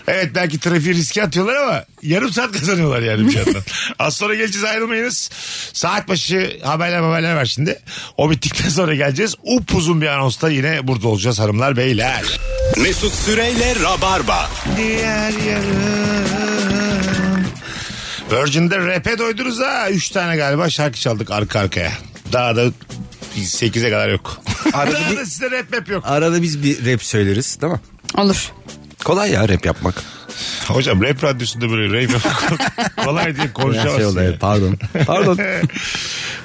A: evet belki trafiği riske atıyorlar ama yarım saat kazanıyorlar yani bir yandan. Az sonra geleceğiz ayrılmayınız. Saat başı haberler haberler var şimdi. O bittikten sonra geleceğiz. Upuzun bir anonsta yine burada olacağız hanımlar beyler.
F: Mesut Süreyle Rabarba.
A: Diğer yarım. Virgin'de rap'e doydunuz ha. Üç tane galiba şarkı çaldık arka arkaya. Daha da 8'e kadar yok.
C: Arada
A: Daha
C: bir-
A: da size rap map yok.
C: Arada biz bir rap söyleriz değil mi?
B: Olur.
C: Kolay ya rap yapmak.
A: Hocam rap radyosunda böyle rap kolay diye
C: Ya
A: konuşamazsın.
C: şey oldu,
A: yani.
C: evet, pardon. Pardon.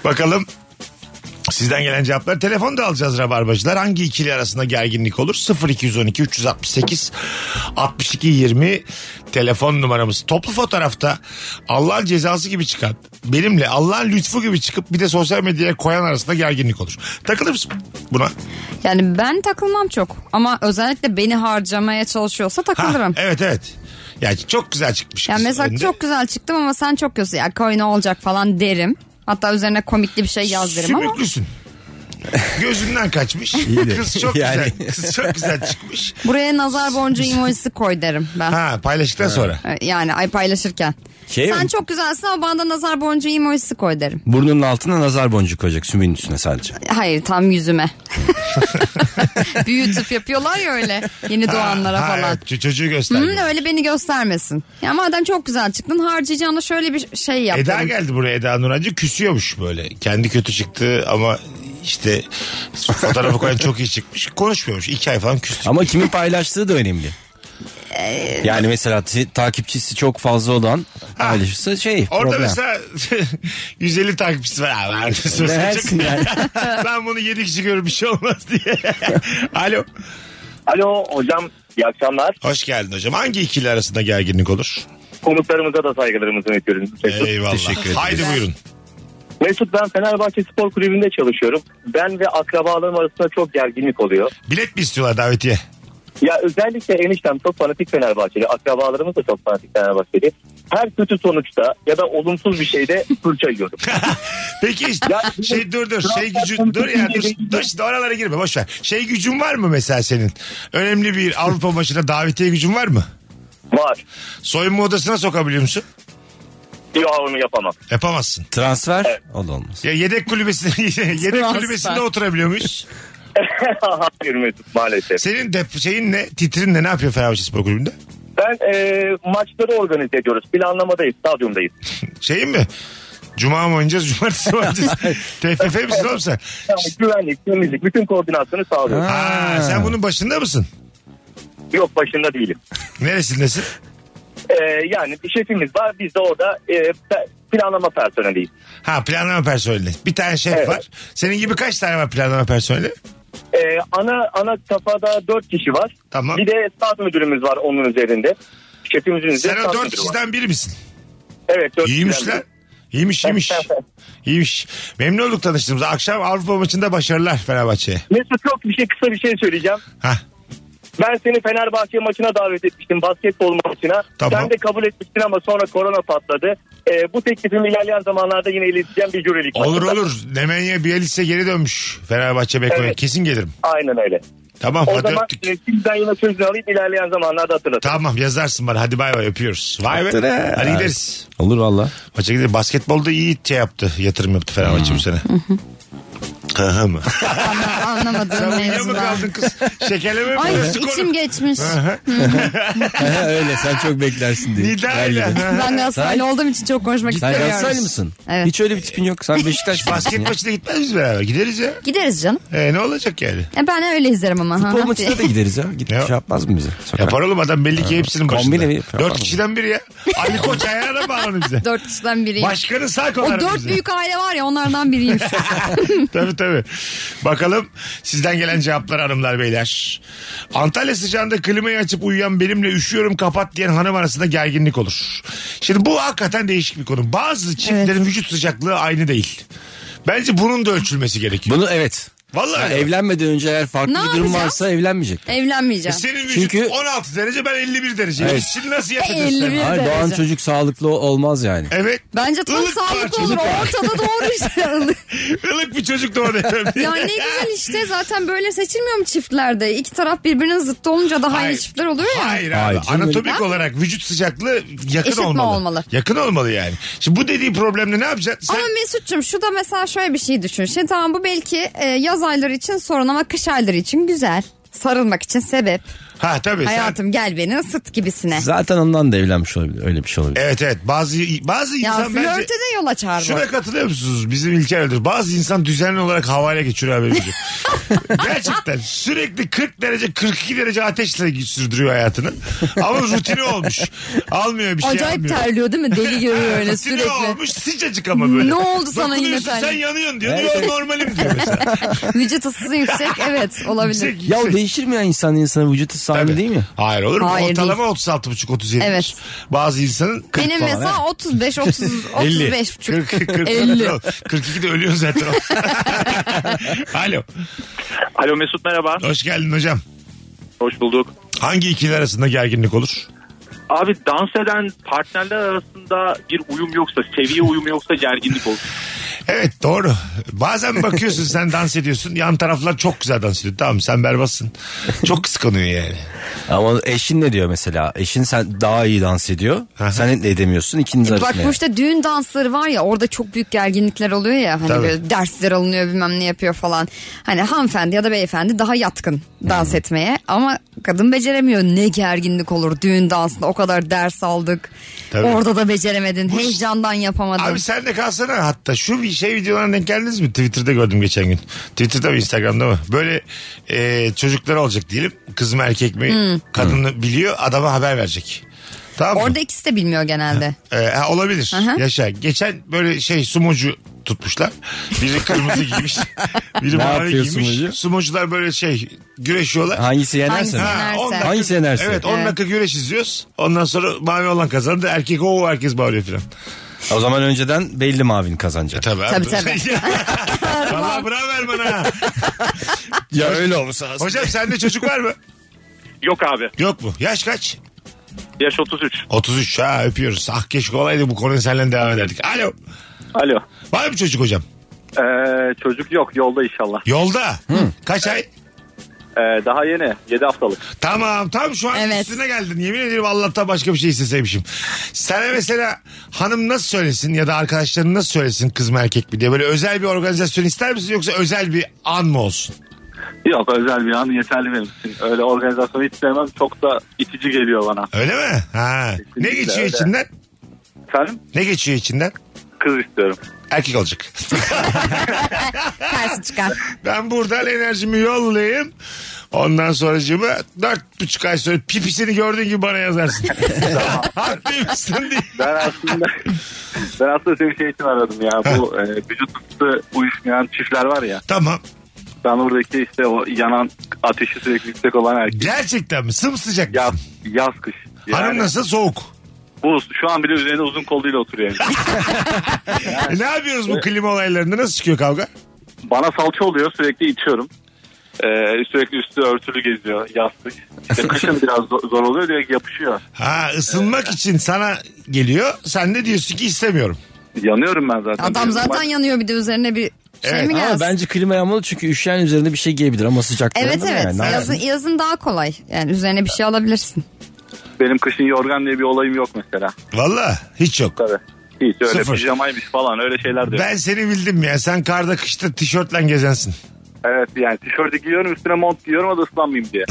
A: Bakalım sizden gelen cevaplar. Telefon da alacağız rabarbacılar. Hangi ikili arasında gerginlik olur? 0212 368 62 20 telefon numaramız. Toplu fotoğrafta Allah'ın cezası gibi çıkan benimle Allah'ın lütfu gibi çıkıp bir de sosyal medyaya koyan arasında gerginlik olur. Takılır mısın buna?
B: Yani ben takılmam çok ama özellikle beni harcamaya çalışıyorsa
A: Ha,
B: takılırım.
A: evet evet. Yani çok güzel çıkmış.
B: Ya
A: kız
B: mesela
A: önde.
B: çok güzel çıktım ama sen çok kötü. Ya koy ne olacak falan derim. Hatta üzerine komikli bir şey yaz derim ama.
A: Sümüklüsün. Gözünden kaçmış.
C: İyiydi.
A: Kız çok
C: Yani.
A: güzel. Kız çok güzel çıkmış.
B: Buraya nazar boncuğu emojisi koy derim ben.
A: Ha paylaştıktan sonra.
B: Yani ay paylaşırken.
C: Şey
B: Sen
C: mi?
B: çok güzelsin ama bana da nazar boncuğu emojisi koy derim.
C: Burnunun altına nazar boncuğu koyacak sümüğün üstüne sadece.
B: Hayır tam yüzüme. Büyütüp yapıyorlar ya öyle yeni doğanlara
A: Ha, ha,
B: falan.
A: evet, ço- çocuğu göster.
B: Hı, öyle beni göstermesin. Ya madem çok güzel çıktın harcayacağına şöyle bir şey yap.
A: Eda
B: derim.
A: geldi buraya Eda Nurancı küsüyormuş böyle. Kendi kötü çıktı ama işte fotoğrafı koyan çok iyi çıkmış. Konuşmuyormuş. İki ay falan küstü.
C: Ama kimin paylaştığı da önemli.
B: Ee,
C: Yani mesela t- takipçisi çok fazla olan paylaşırsa şey
A: Orada
C: problem.
A: mesela 150 takipçisi var. Abi, arkadaşlar,
C: Versin yani.
A: ben bunu 7 kişi görür bir şey olmaz diye. Alo.
D: Alo hocam iyi akşamlar.
A: Hoş geldin hocam. Hangi ikili arasında gerginlik olur?
D: Konuklarımıza da saygılarımızı iletiyoruz. Mesut.
A: Eyvallah.
C: Teşekkür ederim.
A: Haydi buyurun.
D: Mesut ben Fenerbahçe Spor Kulübü'nde çalışıyorum. Ben ve akrabalarım arasında çok gerginlik oluyor.
A: Bilet mi istiyorlar davetiye?
D: Ya özellikle eniştem çok fanatik Fenerbahçeli. Akrabalarımız da çok fanatik Fenerbahçeli. Her kötü sonuçta ya da olumsuz bir şeyde fırça yiyorum.
A: Peki
D: Ya-
A: şey dur dur şey gücün dur ya dur, dur şimdi oralara girme boş ver. Şey gücün var mı mesela senin? Önemli bir Avrupa maçına davetiye gücün var mı?
D: Var.
A: Soyunma odasına sokabiliyor musun?
D: Diyor onu yapamam.
A: Yapamazsın.
C: Transfer o da olmaz.
A: Ya yedek kulübesinde yedek
B: Transfer.
A: kulübesinde oturabiliyor muyuz?
D: Hayır Mesut maalesef.
A: Senin dep şeyin ne? Titrin ne? Ne yapıyor Fenerbahçe Spor Kulübü'nde?
D: Ben e, maçları organize ediyoruz. Planlamadayız, stadyumdayız.
A: Şeyin mi? Cuma mı oynayacağız? Cumartesi mi oynayacağız? TFF misin oğlum sen?
D: Yani güvenlik, temizlik, bütün koordinasyonu sağlıyoruz.
A: Ha, sen bunun başında mısın?
D: Yok başında değilim.
A: Neresindesin?
D: E, yani bir şefimiz var. Biz de orada e, pe- planlama personeliyiz.
A: Ha planlama personeli. Bir tane şef
D: Evet.
A: var. Senin gibi kaç tane var planlama personeli?
D: E, ana ana kafada dört kişi var.
A: Tamam.
D: Bir de stat müdürümüz var onun üzerinde. Şefimizin üzerinde
A: Sen o
D: stat
A: dört
D: müdürü var.
A: kişiden biri misin?
D: Evet dört
A: İyiymiş
D: kişiden
A: lan.
D: biri.
A: İyiymiş iyiymiş. iyiymiş. Memnun olduk tanıştığımıza. Akşam Avrupa maçında başarılar Fenerbahçe'ye.
D: Mesut çok bir şey kısa bir şey söyleyeceğim.
A: Hah.
D: Ben seni Fenerbahçe maçına davet etmiştim basketbol maçına.
A: Tamam.
D: Sen de kabul etmiştin ama sonra korona patladı. Ee, bu teklifimi ilerleyen zamanlarda yine ileteceğim bir jürilik
A: Olur
D: maçında.
A: olur. Nemanja Bielitsa geri dönmüş. Fenerbahçe Beko'ya.
D: Evet.
A: Kesin gelirim.
D: Aynen öyle.
A: Tamam
D: O
A: hadi
D: zaman
A: öptük.
D: e, sizden yine sözünü alayım ilerleyen zamanlarda hatırlatın.
A: Tamam yazarsın bana. Hadi bay bay öpüyoruz. Vay be.
C: Hatırlar.
A: Hadi gideriz.
C: Olur valla.
A: Maça gideriz. Basketbolda iyi şey yaptı. Yatırım yaptı Fenerbahçe
D: Hmm.
A: bu sene. Hı hı mı?
B: Anlamadığım
A: Uyuya mı
B: mevzular.
A: kaldın kız? Şekerleme mi?
B: Ay
A: Burası konu.
B: içim geçmiş.
C: Öyle sen çok beklersin diye.
A: Nida ile.
C: Gel gibi.
A: Hı hı.
B: Ben Galatasaraylı
C: Sen-
B: olduğum için çok konuşmak
C: Sen
B: istemiyorum.
C: Galatasaraylı mısın?
B: Evet.
C: Hiç öyle bir tipin yok. Sen Beşiktaş
A: Basket
C: basket
A: maçına gitmez miyiz beraber? Gideriz ya.
B: Gideriz canım.
A: E, ne olacak yani?
B: E ben öyle izlerim ama.
C: Futbol maçına da gideriz ya. Git
A: Ya.
C: şey yapmaz mı bize? Sokak.
A: Yapar oğlum adam belli ki hepsinin
C: Kombine
A: başında.
C: mi yapıyor?
A: Dört kişiden biri ya. Ali Koç ayağına bağlanır bize.
B: Dört kişiden biriyim.
A: Başkanın sağ
B: o
A: kolları
B: dört
A: bize.
B: büyük aile var ya onlardan biriyim. şu an.
A: tabii tabii. Bakalım sizden gelen cevaplar hanımlar beyler. Antalya sıcağında klimayı açıp uyuyan benimle üşüyorum kapat diyen hanım arasında gerginlik olur. Şimdi bu hakikaten değişik bir konu. Bazı çiftlerin vücut sıcaklığı aynı değil. Bence bunun da ölçülmesi gerekiyor.
C: Bunu evet.
A: Vallahi
C: Yani
A: öyle.
C: evlenmeden önce eğer farklı
B: Ne
C: bir durum
B: yapacağız?
C: varsa evlenmeyecek.
B: Evlenmeyeceğim.
A: E, Senin vücut
C: Çünkü-
A: 16 derece ben 51 derece.
C: Evet.
A: Şimdi nasıl yapacağız?
B: 51.
A: sen?
C: Hayır doğan
B: derece.
C: çocuk sağlıklı o- olmaz yani.
A: Evet.
B: Bence tam
A: Ilık parça,
B: sağlıklı olur.
A: ılık
B: Ortada doğru işte.
A: Ilık bir çocuk doğdu efendim.
B: ya ne güzel işte zaten böyle seçilmiyor mu çiftlerde? İki taraf birbirinin zıttı olunca daha
A: Hayır.
B: iyi çiftler oluyor ya.
A: Hayır,
C: Hayır
A: abi.
C: canım,
A: Anatomik
B: öyle-
A: olarak vücut sıcaklığı yakın
B: Eşit mi
A: olmalı.
B: olmalı?
A: Yakın olmalı yani. Şimdi bu dediği problemle ne yapacaksın? Sen
B: Ama Mesut'cum şu da mesela şöyle bir şey düşün. Şimdi tamam bu belki e, yaz ayları için sorun ama kış ayları için güzel. Sarılmak için sebep.
A: ha tabii E, sen
B: Hayatım gel beni ısıt gibisine.
C: Zaten ondan da evlenmiş olabilir. Öyle bir şey olabilir.
A: Evet evet bazı bazı
B: Ya
A: insan
B: flörte
A: bence
B: de yol açar bu.
A: Şuna katılıyor musunuz? Bizim İlker Öldür. Bazı insan düzenli olarak havale geçiriyor haberimizi. Gerçekten sürekli 40 derece 42 derece ateşle sürdürüyor hayatını. Ama rutini olmuş. Almıyor bir şey
B: Acayip
A: almıyor.
B: terliyor değil mi? Deli gibi böyle
A: Rutini
B: sürekli.
A: olmuş sıcacık ama böyle.
B: Ne oldu sana yine
A: Dokunuyorsun,
B: terlik?
A: Sen yanıyorsun diyor. Yo, normalim diyor mesela.
B: Vücut ısısı yüksek evet olabilir.
A: Yüksek,
C: Ya o
A: yüksek.
C: değişir mi ya insan insana vücut ısı aynı
A: şey- Tabii.
C: değil mi?
A: Hayır olur mu?
B: Hayır,
A: Ortalama 36,5 37.
B: Evet.
A: Bazı insanın
B: Benim
C: falan,
B: mesela 35 30 35
A: 40, 40,
B: 50.
A: 42 de ölüyorsun zaten. Alo.
D: Alo Mesut merhaba.
A: Hoş geldin hocam.
D: Hoş bulduk.
A: Hangi ikili arasında gerginlik olur?
D: Abi dans eden partnerler arasında bir uyum yoksa, seviye uyumu yoksa gerginlik olur.
A: Evet doğru. Bazen bakıyorsun sen dans ediyorsun. Yan taraflar çok güzel dans ediyor. Tamam sen berbatsın. Çok kıskanıyor yani.
C: Ama eşin ne diyor mesela? Eşin sen daha iyi dans ediyor.
A: Aha.
C: sen de edemiyorsun. İkiniz
B: Bak
C: arasında.
B: bu
C: yani.
B: işte düğün dansları var ya orada çok büyük gerginlikler oluyor ya. Hani
A: Tabii.
B: böyle dersler alınıyor bilmem ne yapıyor falan. Hani hanımefendi ya da beyefendi daha yatkın dans
A: Hmm.
B: etmeye. Ama kadın beceremiyor. Ne gerginlik olur düğün dansında o kadar ders aldık.
A: Tabii.
B: Orada da beceremedin. Heyecandan yapamadın.
A: Abi sen de kalsana hatta şu bir şey videolarına denk geldiniz mi? Twitter'da gördüm geçen gün. Twitter'da mı Instagram'da mı? Böyle e, çocuklar olacak diyelim. Kız mı erkek mi? Kadını biliyor adama haber verecek. Tamam mı?
B: Orada ikisi de bilmiyor genelde.
A: Ee, ha, olabilir.
B: Aha.
A: Yaşa. Geçen böyle şey sumocu tutmuşlar. Biri kırmızı giymiş. Biri
C: Ne
A: mavi
C: yapıyor
A: giymiş.
C: sumocu?
A: Sumocular böyle şey güreşiyorlar.
C: Hangisi yenerse.
B: Hangisi?
C: mi?
B: Yenerse.
A: on
C: Hangisi yenerse?
A: Evet 10
B: Evet.
A: dakika güreş izliyoruz. Ondan sonra mavi olan kazandı. Erkek o herkes bağırıyor filan.
C: O zaman önceden belli mavin kazanacak.
A: Tabii
B: Tabii, tabii.
A: Valla bravo Erman ha.
C: Ya öyle olsa
A: Hocam sende çocuk var mı?
D: Yok abi.
A: Yok mu? Yaş kaç?
D: Yaş 33.
A: 33 ha öpüyoruz. Ah keşke olaydı bu konuyu seninle devam ederdik. Alo.
D: Alo.
A: Var mı çocuk hocam?
D: Ee, çocuk yok yolda inşallah.
A: Yolda. Kaç ay?
D: Ee, daha yeni 7 haftalık.
A: Tamam tam şu an
B: Evet.
A: üstüne geldin. Yemin ederim Allah'tan başka bir şey isteseymişim. Sana mesela hanım nasıl söylesin ya da arkadaşların nasıl söylesin kız mı erkek mi diye. Böyle özel bir organizasyon ister misin yoksa özel bir an mı olsun?
D: Yok özel bir an yeterli benim için. Öyle organizasyonu hiç sevmem çok da itici geliyor bana.
A: Öyle mi? Ha. Ne
D: Kesinlikle
A: geçiyor
D: öyle.
A: içinden?
D: Efendim?
A: Ne geçiyor içinden?
D: Kız istiyorum.
A: Erkek olacak.
B: Tersi çıkar.
A: Ben buradan enerjimi yollayayım. Ondan sonracığıma dört buçuk ay sonra pipisini gördüğün gibi bana yazarsın. Haklıymışsın diye.
D: Ben aslında ben aslında seni şey için aradım ya. Bu e, vücut ısısı uyuşmayan çiftler var ya.
A: Tamam.
D: Ben oradaki işte o yanan ateşi sürekli yüksek olan erkek.
A: Gerçekten mi? Sımsıcak mısın?
D: Yaz, yaz kış. Yani
A: Hanım nasıl? Soğuk.
D: Bu şu an bile üzerine uzun kolluyla oturuyor. yani.
A: E ne yapıyoruz bu klima olaylarında? Nasıl çıkıyor kavga?
D: Bana salça oluyor sürekli içiyorum. Ee, sürekli üstü örtülü geziyor yastık. İşte kışın biraz zo- zor oluyor diye yapışıyor.
A: Ha ısınmak için sana geliyor. Sen de diyorsun ki istemiyorum.
D: Yanıyorum ben zaten.
B: Adam zaten yanıyor bir de üzerine bir şey
A: Evet,
B: mi
C: Ama
B: gelsin?
C: bence klima yanmalı çünkü üşüyen üzerinde bir şey giyebilir ama sıcaklarında
B: Evet evet.
C: yani. Ne
B: yazın,
C: yapayım?
B: yazın daha kolay. Yani üzerine bir şey alabilirsin.
D: Benim kışın yorgan diye bir olayım yok mesela.
A: Valla hiç yok.
D: Tabii. Hiç öyle
A: Sıfır.
D: pijamaymış falan öyle şeyler diyor.
A: Ben seni bildim ya. Sen karda kışta tişörtle gezensin.
D: Evet yani tişörtü giyiyorum üstüne mont giyiyorum o da ıslanmayayım diye.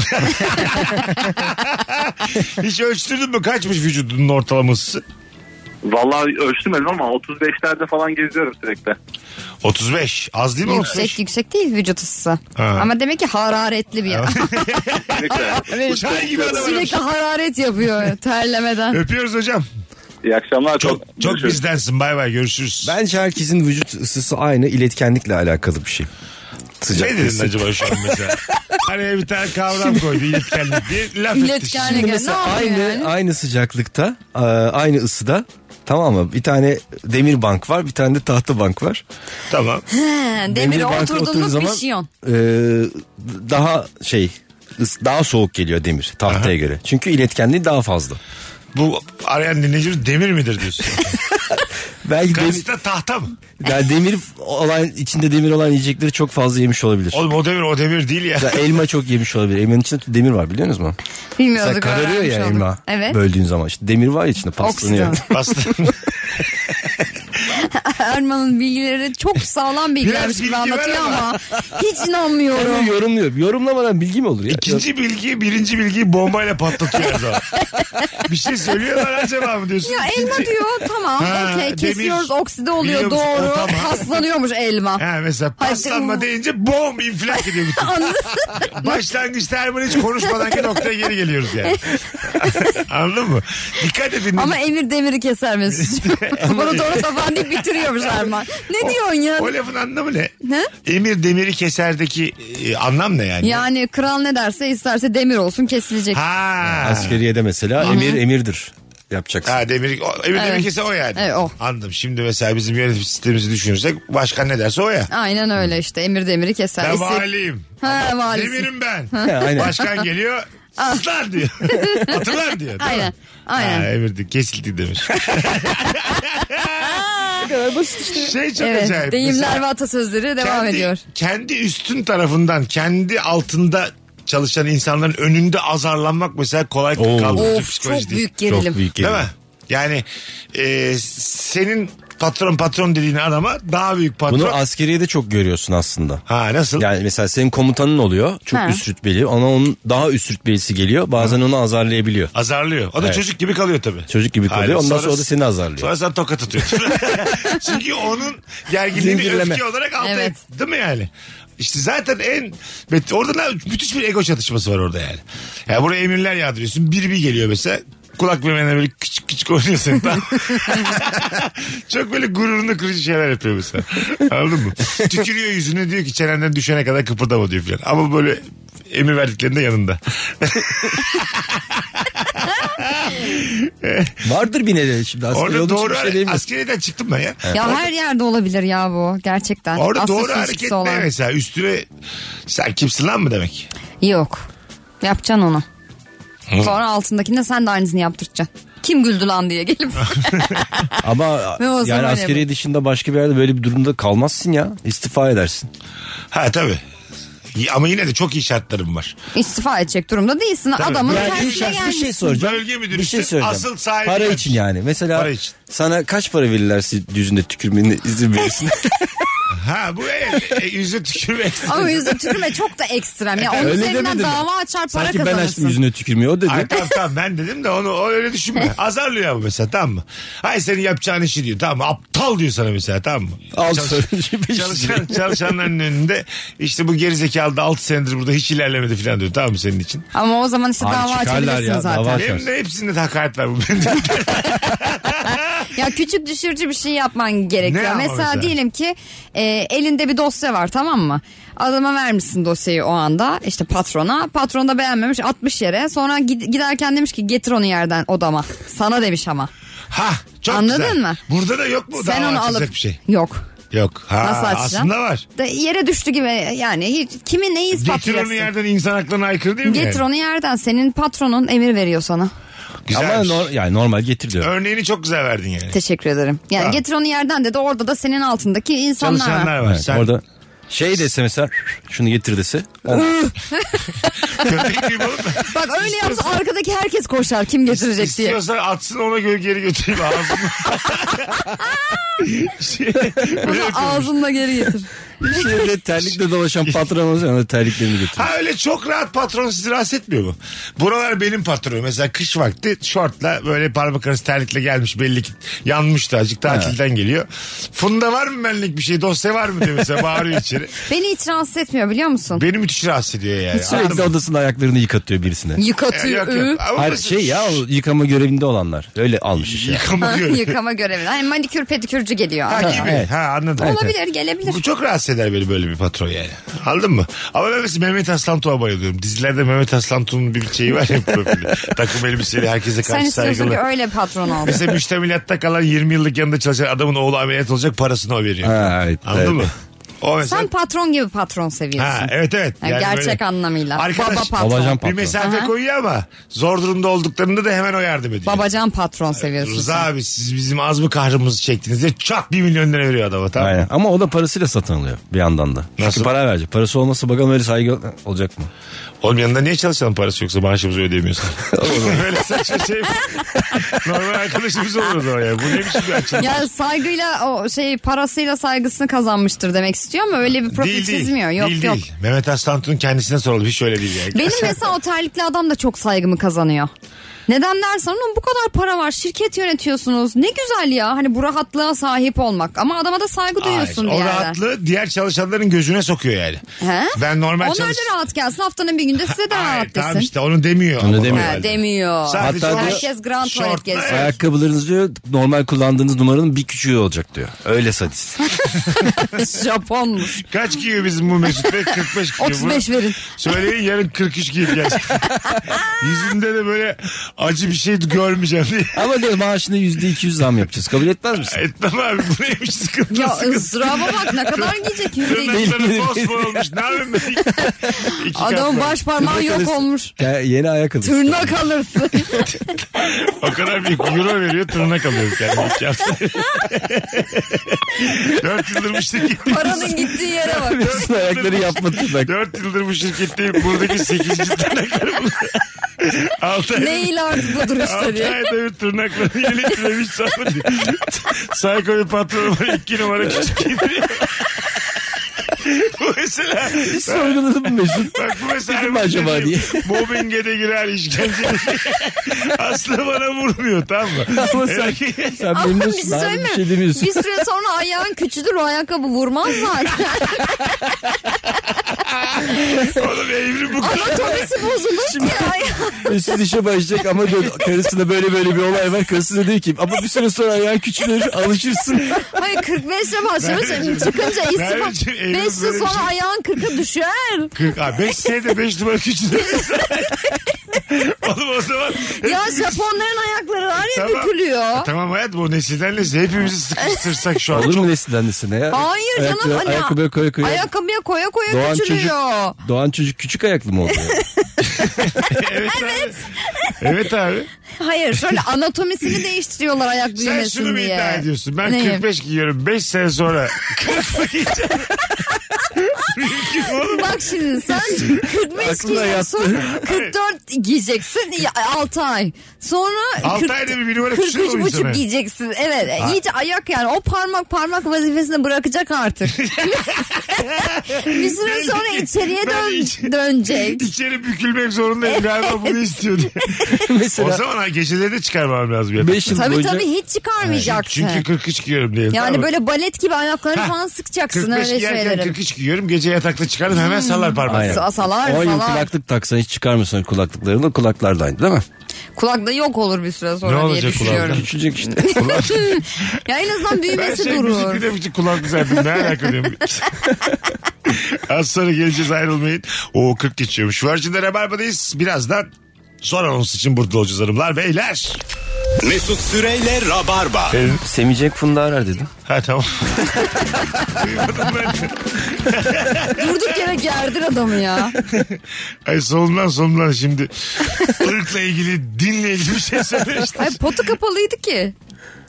A: Hiç ölçtürdün mü? Kaçmış vücudunun ortalaması?
D: Vallahi ölçtüm ama 35'lerde falan geziyorum sürekli.
A: 35. Az değil mi
B: Yüksek
A: 35?
B: yüksek değil vücut ısısı.
A: Ha.
B: Ama demek ki hararetli bir yer.
D: Sürekli.
A: Uçan gibi adam aramış.
B: Sürekli hararet yapıyor terlemeden.
A: Öpüyoruz hocam.
D: İyi akşamlar.
A: Çok çok
D: Görüşürüz.
A: bizdensin. Bay bay görüşürüz.
C: Bence herkesin vücut ısısı aynı iletkenlikle alakalı bir şey. Sıcak
A: ne dedin
C: ısı.
A: acaba şu an mesela? Araya bir tane kavram koydu iletkenlik diye. Laf etti.
B: İletkenlik.
C: Mesela
B: ne yapıyor
C: aynı
B: yani?
C: aynı sıcaklıkta, e, aynı ısıda Tamam mı? Bir tane demir bank var, bir tane de tahta bank var.
A: Tamam.
B: He, demire
C: banka
B: oturdun
C: oturduğu
B: mu
C: zaman,
B: pişiyorsun.
C: e, daha şey ıs- daha soğuk geliyor demir tahtaya göre. Çünkü iletkenliği daha fazla.
A: Bu arayan dinleyicimiz demir midir diyorsun?
C: Belki demir,
A: Karşısı da tahta mı?
C: yani demir olan içinde demir olan yiyecekleri çok fazla yemiş olabilir.
A: Oğlum o demir o demir değil ya.
C: Mesela elma çok yemiş olabilir. Elmanın içinde demir var biliyorsunuz mu? Mesela
B: Bilmiyorduk.
C: kararıyor
B: öğrenmiş
C: ya
B: olduk.
C: elma.
B: Evet.
C: Böldüğün zaman işte demir var ya içinde paslanıyor.
B: Oksidan.
A: Aslında
B: Erman'ın bilgileri çok sağlam
A: Biraz
B: bilgilermiş
A: bilgi
B: gibi
A: ver
B: anlatıyor
A: ama.
B: ama hiç inanmıyorum.
C: Onu yorumluyor. Yorumlamadan bilgi mi olur ya?
A: ikinci bilgiyi birinci bilgiyi bombayla patlatıyor her zaman. Bir şey söylüyorlar acaba mı diyorsun?
B: Ya elma
A: İkinci-
B: diyor tamam
A: Ha,
B: okey
A: demir.
B: kesiyoruz okside oluyor
A: Biliyormuş,
B: doğru
A: o tamam.
B: paslanıyormuş elma.
A: Ha mesela
B: Hadi
A: paslanma
B: o.
A: deyince bom infilak ediyor bütün. Başlangıçta Erman hiç konuşmadan ki noktaya geri geliyoruz yani. Anladın mı? Dikkat edin.
B: Ama Emir demiri keser Mesut'cum. Bunu doğru taban deyip bitiriyormuş Erman. Ne diyorsun ya?
A: O lafın anlamı ne?
B: Ne?
A: Emir demiri keserdeki e, anlam ne yani?
B: Yani kral ne derse isterse demir olsun kesilecek.
A: Ha.
C: Askeriye de mesela emir emirdir yapacaksın.
A: Ha demir, o, emir demir kese o yani.
B: Evet, o.
A: Anladım. Şimdi mesela bizim yönetim sistemimizi düşünürsek başkan ne derse o ya.
B: Aynen öyle işte emir demiri keser.
A: Ben
B: İstek-
A: valiyim.
B: Ha valisi.
A: Demirim ben.
C: aynen.
A: Başkan geliyor. Sızlar diyor. Hatırlar diyor. değil mi?
B: Aynen, aynen.
A: Ha, emir de- kesildi demiş. Şey çok
B: Evet,
A: acayip.
B: deyimler
A: Mesela-
B: ve atasözleri devam
A: kendi,
B: ediyor.
A: Kendi üstün tarafından, kendi altında çalışan insanların önünde azarlanmak mesela kolay
C: Oo.
A: kaldırıcı
B: Of
A: psikoloji
B: çok
A: değil.
B: büyük gerilim.
C: Çok büyük
A: Değil
C: geliyor.
A: mi? Yani e, senin patron patron dediğin adama daha büyük patron.
C: Bunu askeriye de çok görüyorsun aslında.
A: ha nasıl?
C: Yani mesela senin komutanın oluyor. Çok
B: Ha.
C: üst rütbeli. Ona onun daha üst rütbelisi geliyor. Bazen onu azarlayabiliyor.
A: Azarlıyor. O da
C: Evet.
A: çocuk gibi kalıyor tabii.
C: Çocuk gibi kalıyor.
A: Aynen.
C: Ondan sonra o da seni azarlıyor.
A: Sonra sen tokat atıyorsun. Çünkü onun gerginliğini
C: Zincirleme.
A: öfke olarak alta
B: Evet.
A: et- Değil mi yani? İşte zaten en bet- orada ne- müthiş bir ego çatışması var orada yani. Ya buraya emirler yağdırıyorsun. Bir bir geliyor mesela. Kulak memene böyle küçük küçük oynuyorsun. Tamam. Çok böyle gururunu kırıcı şeyler yapıyor mesela. Anladın mı? Tükürüyor yüzüne diyor ki çenenden düşene kadar kıpırdama diyor falan. Ama böyle emir verdiklerinde yanında.
C: Vardır bir nedeni şimdi. Askeri
A: Orada
C: olduğu için
A: doğru
C: bir şey
A: hare-
C: diyemiyorum.
A: askeriyeden çıktım ben ya.
B: Ya her yerde olabilir ya bu gerçekten.
A: Orada
B: Aslı
A: doğru
B: suçlusu
A: hareket
B: olan.
A: ne mesela? Üstüne sen kimsin lan mı demek?
B: Yok. Yapacaksın onu. Sonra altındakine sen de aynısını yaptıracaksın. Kim güldü lan diye gelip.
C: Ama
B: Ve o zaman
C: yani
B: öyle
C: askeriye dışında başka bir yerde böyle bir durumda kalmazsın ya. İstifa edersin.
A: Ha tabii. Y- Ama yine de çok iyi şartlarım var.
B: İstifa edecek durumda değilsin. Adamın
C: Yani
B: tersine
C: bir şey, bir
B: gelmişsin.
C: şey soracağım.
A: Bölge müdürü
C: bir şey
A: için
C: soracağım.
A: asıl sahibi
C: Para
A: gelmiş.
C: için yani. Mesela
A: Para için.
C: sana kaç para verirlerse yüzünde tükürmeni izin verirsin.
A: Ha bu e, e, yüzü tükürmek.
B: Ama yüzde tükürme çok da ekstrem. Ya onun
C: Öyle
B: üzerinden
C: demedim ben.
B: dava açar para
C: Sanki ben açtım
B: kazanırsın.
C: yüzüne tükürmeyi o dedi.
A: Ay tamam tamam ben dedim de onu o öyle düşünme. Azarlıyor ama mesela tamam mı? Hayır senin yapacağın işi diyor tamam mı? Aptal diyor sana mesela tamam mı?
C: Al
A: Çalış-
C: sonra bir şey.
A: Çalışan, çalışanların önünde işte bu gerizekalı da 6 senedir burada hiç ilerlemedi falan diyor tamam mı senin için?
B: Ama o zaman işte
C: Abi
B: dava
C: çıkarlar ya,
B: açabilirsin
C: dava
B: zaten.
C: aç-
A: Benim de hepsinde de hakaret var bu bende.
B: Ya küçük düşürücü bir şey yapman
A: Ne
B: gerekiyor.
A: ama
B: Mesela,
A: mesela?
B: diyelim ki e, elinde bir dosya var tamam mı? Adama vermişsin dosyayı o anda işte patrona. Patron da beğenmemiş atmış yere. Sonra gid- giderken demiş ki getir onu yerden odama. Sana demiş ama.
A: Ha çok
B: Anladın
A: güzel.
B: mı?
A: Burada da yok mu?
B: Sen
A: dava
B: onu
A: açılacak
B: alıp
A: bir şey.
B: Yok.
A: Yok. Ha,
B: Nasıl açacaksın?
A: aslında var.
B: Da yere düştü gibi yani hiç kimi neyi
A: Getir
B: ispatlayacaksın?
A: onu yerden insan aklına aykırı değil mi?
B: Getir
A: yani?
B: onu yerden. Senin patronun emir veriyor sana.
A: Güzelmiş.
C: Ama nor- yani normal getir diyor.
A: Örneğini çok güzel verdin yani.
B: Teşekkür ederim. Yani
A: Tamam.
B: getir onu yerden dedi. Orada da senin altındaki insanlar var.
A: Çalışanlar var.
C: Evet,
A: Sen
C: Orada şey dese mesela şunu getir dese.
A: köpek gibi oğlum.
B: Bak öyle yapsa arkadaki herkes koşar kim getirecek diye.
A: İstiyorsan atsın ona göre geri götüreyim ağzını. şey, öyle yapıyormuş.
B: Ağzınla geri getir.
C: Şehirde şey terlikle dolaşan patron olsa ona terliklerini götür.
A: Ha öyle çok rahat patron sizi rahatsız etmiyor mu? Buralar benim patronu. Mesela kış vakti şortla böyle parmak arası terlikle gelmiş belli ki yanmış da azıcık tatilden geliyor. Funda var mı benlik bir şey dosya var mı diye mesela bağırıyor içeri.
B: Beni hiç rahatsız etmiyor biliyor musun?
A: Beni müthiş rahatsız ediyor yani. Anladın
C: Sürekli
A: mı?
C: odasında ayaklarını yıkatıyor birisine.
B: Yıkatıyor.
A: Yok, yok. Ama
C: Hayır
A: mesela-
C: şey ya o yıkama görevinde olanlar. Öyle almış işe.
A: Yıkama
B: Ha,
A: diyor.
B: Yıkama görevi. Hani manikür pedikürcü geliyor.
A: Ha gibi.
C: evet.
A: Ha anladım.
B: Olabilir gelebilir.
A: Bu çok rahatsız rahatsız eder beni böyle bir patron yani. Anladın mı? Ama ben mesela Mehmet Aslantuğ'a bayılıyorum. Dizilerde Mehmet Aslantuğ'un bir şeyi var ya profili. Takım elbiseli herkese karşı
B: Sen istiyorsun
A: saygılı.
B: ki öyle patron ol.
A: Mesela müştemilatta kalan 20 yıllık yanında çalışan adamın oğlu ameliyat olacak parasını o veriyor.
C: Ha, evet,
A: Anladın
C: evet.
A: mı? O mesela...
B: Sen patron gibi patron seviyorsun.
A: Ha, evet evet.
B: Yani
A: Yani
B: gerçek
A: böyle-
B: anlamıyla.
A: Arkadaş-
B: Baba patron.
C: Babacan
A: Bir
C: patron.
A: mesafe
B: Aha.
A: koyuyor ama zor durumda olduklarında da hemen o yardım ediyor.
B: Babacan patron seviyorsun
A: Rıza
B: sen.
A: abi siz bizim az mı kahrımızı çektiniz diye çat bir milyon lira veriyor adama tamam mı?
C: Aynen. Ama o da parasıyla satın alıyor bir yandan da. Çünkü
A: Nasıl?
C: para verecek. Parası olmasa bakalım öyle saygı olacak mı?
A: Oğlum yanında niye çalışalım parası yoksa maaşımızı ödeyemiyorsan? Böyle saçma şey mi? Normal arkadaşımız olur o zaman yani. Bu ne biçim bir açılım?
B: Ya saygıyla o şey parasıyla saygısını kazanmıştır demek istiyor ama öyle bir profil
A: Değil değil.
B: çizmiyor. Yok
A: değil,
B: yok.
A: Değil. Mehmet Aslantu'nun kendisine soralım. Hiç öyle değil yani.
B: Benim mesela o terlikli adam da çok saygımı kazanıyor. Neden dersen onun bu kadar para var şirket yönetiyorsunuz ne güzel ya hani bu rahatlığa sahip olmak ama adama da saygı duyuyorsun bir
A: o
B: yerde.
A: rahatlığı diğer çalışanların gözüne sokuyor yani.
B: He?
A: Ben normal
B: Onlar
A: çalış-
B: da rahat gelsin haftanın bir günde size de
A: Hayır,
B: rahat
A: tamam
B: desin.
A: işte onu demiyor.
C: Onu
A: ama
C: demiyor.
A: normalde.
B: Ha, demiyor.
A: Sadece
C: Hatta
A: o
B: Herkes grand
A: şortla-
B: tuvalet gezsin.
A: Evet.
C: Ayakkabılarınız diyor normal kullandığınız numaranın bir küçüğü olacak diyor. Öyle sadist.
B: Japonmuş.
A: Kaç giyiyor bizim bu Mesut Bey? 45 giyiyor.
B: 35
A: Bunu
B: verin.
A: Söyleyin yarın 43 giyip gerçekten. Yüzünde de böyle acı bir şey görmeyeceğim diye.
C: Ama diyor maaşına yüzde iki yüz zam yapacağız. Kabul etmez misin?
A: Etmem abi bu neymiş sıkıntı
B: Ya
A: sıkıntı.
B: ızdıraba bak ne kadar giyecek yüzde
A: Tırnakları fosfor olmuş. Ne yapayım ben? İki- İki
B: Adamın
A: kat var.
B: baş parmağı yok
C: Tırnak
B: olmuş.
C: Ya yeni ayakkabı.
B: Tırnak alırsın.
A: O kadar büyük euro veriyor tırnak alıyorum kendime. iki hafta. Dört yıldır bu şirkette.
B: Paranın gittiği yere bak.
C: Bütün ayakları yapma tırnak.
A: Dört yıldır bu şirketteyim. Buradaki sekizinci tırnaklarım. Altı ay.
B: Neyle artık bu duruşta
A: Altı
B: diye.
A: ayda bir tırnaklarını yeleklemiş sana diyor. Psycho bir patronu var iki numara küçük giydiriyor. bu mesela
C: Hiç sorguladın mı Mesut?
A: Bak bu mesela
C: Dedim mi acaba
A: benim Mobbinge de girer işkence. Aslı bana vurmuyor tamam mı?
C: Ama sen, sen
B: Ama bir şey
C: memnunsun. abi,
B: söyleyeyim
C: Bir
B: mi?
C: şey demiyorsun.
B: Bir süre sonra ayağın küçülür o ayakkabı vurmaz zaten.
A: Oğlum evrim bu kadar.
B: Anatomisi bozulur ki ayağı.
C: Mesut işe başlayacak ama diyor, karısına böyle böyle bir olay var. Karısı da diyor ki ama bir süre sonra ayağın küçülür alışırsın.
B: Hayır 45'e
A: Merveciğim,
B: başlamış çıkınca
A: Merveciğim,
B: istifa.
A: evimiz
B: 5
A: böyle bir
B: yıl sonra
A: şey.
B: ayağın 40'a düşer.
A: 40 abi 5 senede 5 numara küçülür. Oğlum o zaman
B: Ya Japonların ayakları var ya
A: Tamam.
C: E,
B: bükülüyor.
A: Tamam hayat bu nesilden nesil hepimizi sıkıştırsak şu an.
C: Olur mu nesilden nesine ya?
B: Hayır canım
C: Ayakkabı-
B: hani
C: ayakkabıya koya koya.
B: ayakkabıya koya koya
C: Doğan çocuk,
B: küçülüyor.
C: doğan çocuk küçük ayaklı mı oluyor?
A: evet. Abi. Evet abi.
B: Hayır şöyle anatomisini değiştiriyorlar ayak
A: Sen
B: büyümesin
A: şunu bir
B: diye.
A: iddia ediyorsun. Ben
B: Neyi?
A: 45 giyiyorum. 5 sene sonra 40 mı giyeceğim? Mümkün oğlum.
B: Bak şimdi sen 45
C: Aklına
B: giyiyorsun 44 giyeceksin 6 ay. Sonra
A: Altı
B: 40
A: ayda bir şey bir numara küçülüyor mu
B: 43
A: insana?
B: buçuk giyeceksin. Evet iyice ayak yani o parmak parmak vazifesini bırakacak artık. bir süre sonra içeriye
A: Ben
B: dön,
A: iç-
B: dönecek.
A: İçeri bükülmek zorundayım galiba bunu istiyor diye. O
C: Mesela
A: zaman ha, geceleri de çıkarmam lazım. ya.
C: 5 yıl
B: Tabii
C: boyunca
B: tabii hiç çıkarmayacaksın.
A: Çünkü 43 giyiyorum diyelim.
B: yani
A: tamam mı?
B: böyle balet gibi ayaklarını
A: Ha,
B: falan sıkacaksın
A: 45
B: öyle Hmm.
A: giyerken
B: şeyleri.
A: 43 giyiyorum. Gece yatakta çıkarım hemen sallar parmağı.
C: Aynen.
B: Sa- Salar
C: 10 yıl
B: salar.
C: kulaklık taksan hiç çıkarmıyorsan kulaklıklarını kulaklar da aynı değil mi?
B: Kulakta yok olur bir süre sonra diye
A: olacak kulakta?
B: düşünüyorum.
C: Küçülecek işte.
B: ya en azından
A: Ben
B: büyümesi
A: şey müzik
B: durur.
A: dinlemiştik kulağım zaten. Ne alaka diyorum. Az sonra geleceğiz ayrılmayın. O 40 geçiyormuş. Virgin'de Rabarba'dayız. Birazdan son anons için burada olacağız hanımlar beyler.
F: Mesut Süreyle Rabarba.
C: Semicek Funda arar dedim.
A: Ha tamam. Duymadım ben. de.
B: Durduk yere gerdir adamı ya.
A: Ay solundan solundan şimdi ırkla ilgili dinle ilgili bir şey söyle işte.
B: Ay potu kapalıydı ki.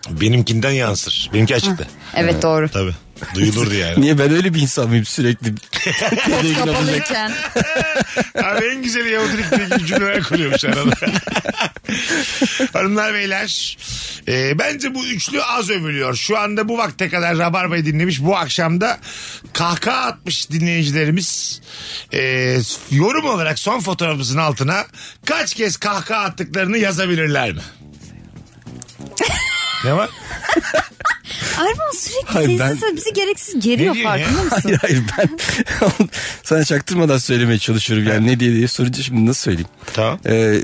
A: Benimkinden yansır. Benimki açıktı.
B: Evet doğru.
A: Tabii. Duyulurdu yani.
C: Niye ben öyle bir insan mıyım sürekli?
B: Kapalıyken.
A: Abi en güzeli Yahudilik ilgili cümleler kuruyormuş arada. Hanımlar beyler. e, bence bu üçlü az övülüyor. Şu anda bu vakte kadar Rabarba'yı dinlemiş. Bu akşam da kahkaha atmış dinleyicilerimiz. E, yorum olarak son fotoğrafımızın altına kaç kez kahkaha attıklarını yazabilirler mi? ne var?
B: Erman sürekli
C: Hayır,
B: sessiz
C: ben-
B: sessiz bizi gereksiz
A: Ne
B: geriyor
A: diyor
B: farkında mısın?
C: Hayır hayır ben sana çaktırmadan söylemeye çalışıyorum. Yani ne diye diye sorunca şimdi nasıl söyleyeyim?
A: Tamam.
C: Ee,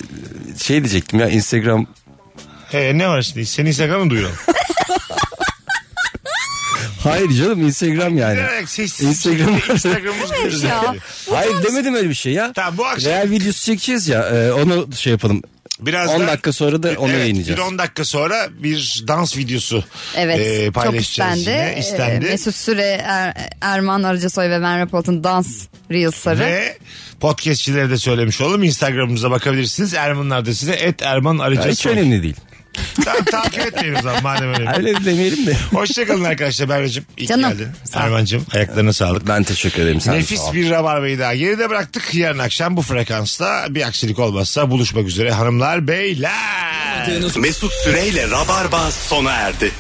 C: şey diyecektim ya Instagram
A: He, ne var şimdi? Senin Instagram'ı duyuralım.
C: Hayır canım Instagram yani.
A: Ne demek sessiz?
C: Instagram.
A: Instagram'ımız
B: Evet ya.
C: Hayır demedim öyle bir şey ya.
A: Tamam, bu akşam-
C: Real videosu çekeceğiz ya. e, onu şey yapalım.
A: Biraz
C: 10
A: da-
C: dakika sonra da onu
A: evet,
C: yayınlayacağız.
A: Bir 10 dakika sonra bir dans videosu
B: Evet
A: e,
B: çok
A: paylaşacağız
B: istendi.
A: yine. İstendi.
B: Ee, Mesut Süre, Er- Erman Arıcasoy ve Ben Rapolt'un dans reels'ları.
A: Ve podcastçilere de söylemiş olalım. Instagram'ımıza bakabilirsiniz. Ermanlar da size et Erman
C: Ya,
A: arayacağız.
C: hiç önemli değil.
A: Ta- takip etmeyin o zaman madem öyle.
C: Öyle demeyelim de.
A: Hoşçakalın arkadaşlar Berra'cığım. İyi ki
B: Canım,
A: geldin.
B: sağ ol.
A: Erman'cığım ayaklarına sağlık.
C: Ben teşekkür ederim. Sen de sağ
A: Nefis
C: ol.
A: bir rabarbayı daha geride bıraktık. Yarın akşam bu frekansta bir aksilik olmazsa buluşmak üzere hanımlar beyler.
F: Mesut Süreyle Rabarba sona erdi.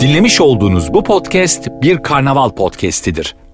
H: Dinlemiş olduğunuz bu podcast bir karnaval podcastidir.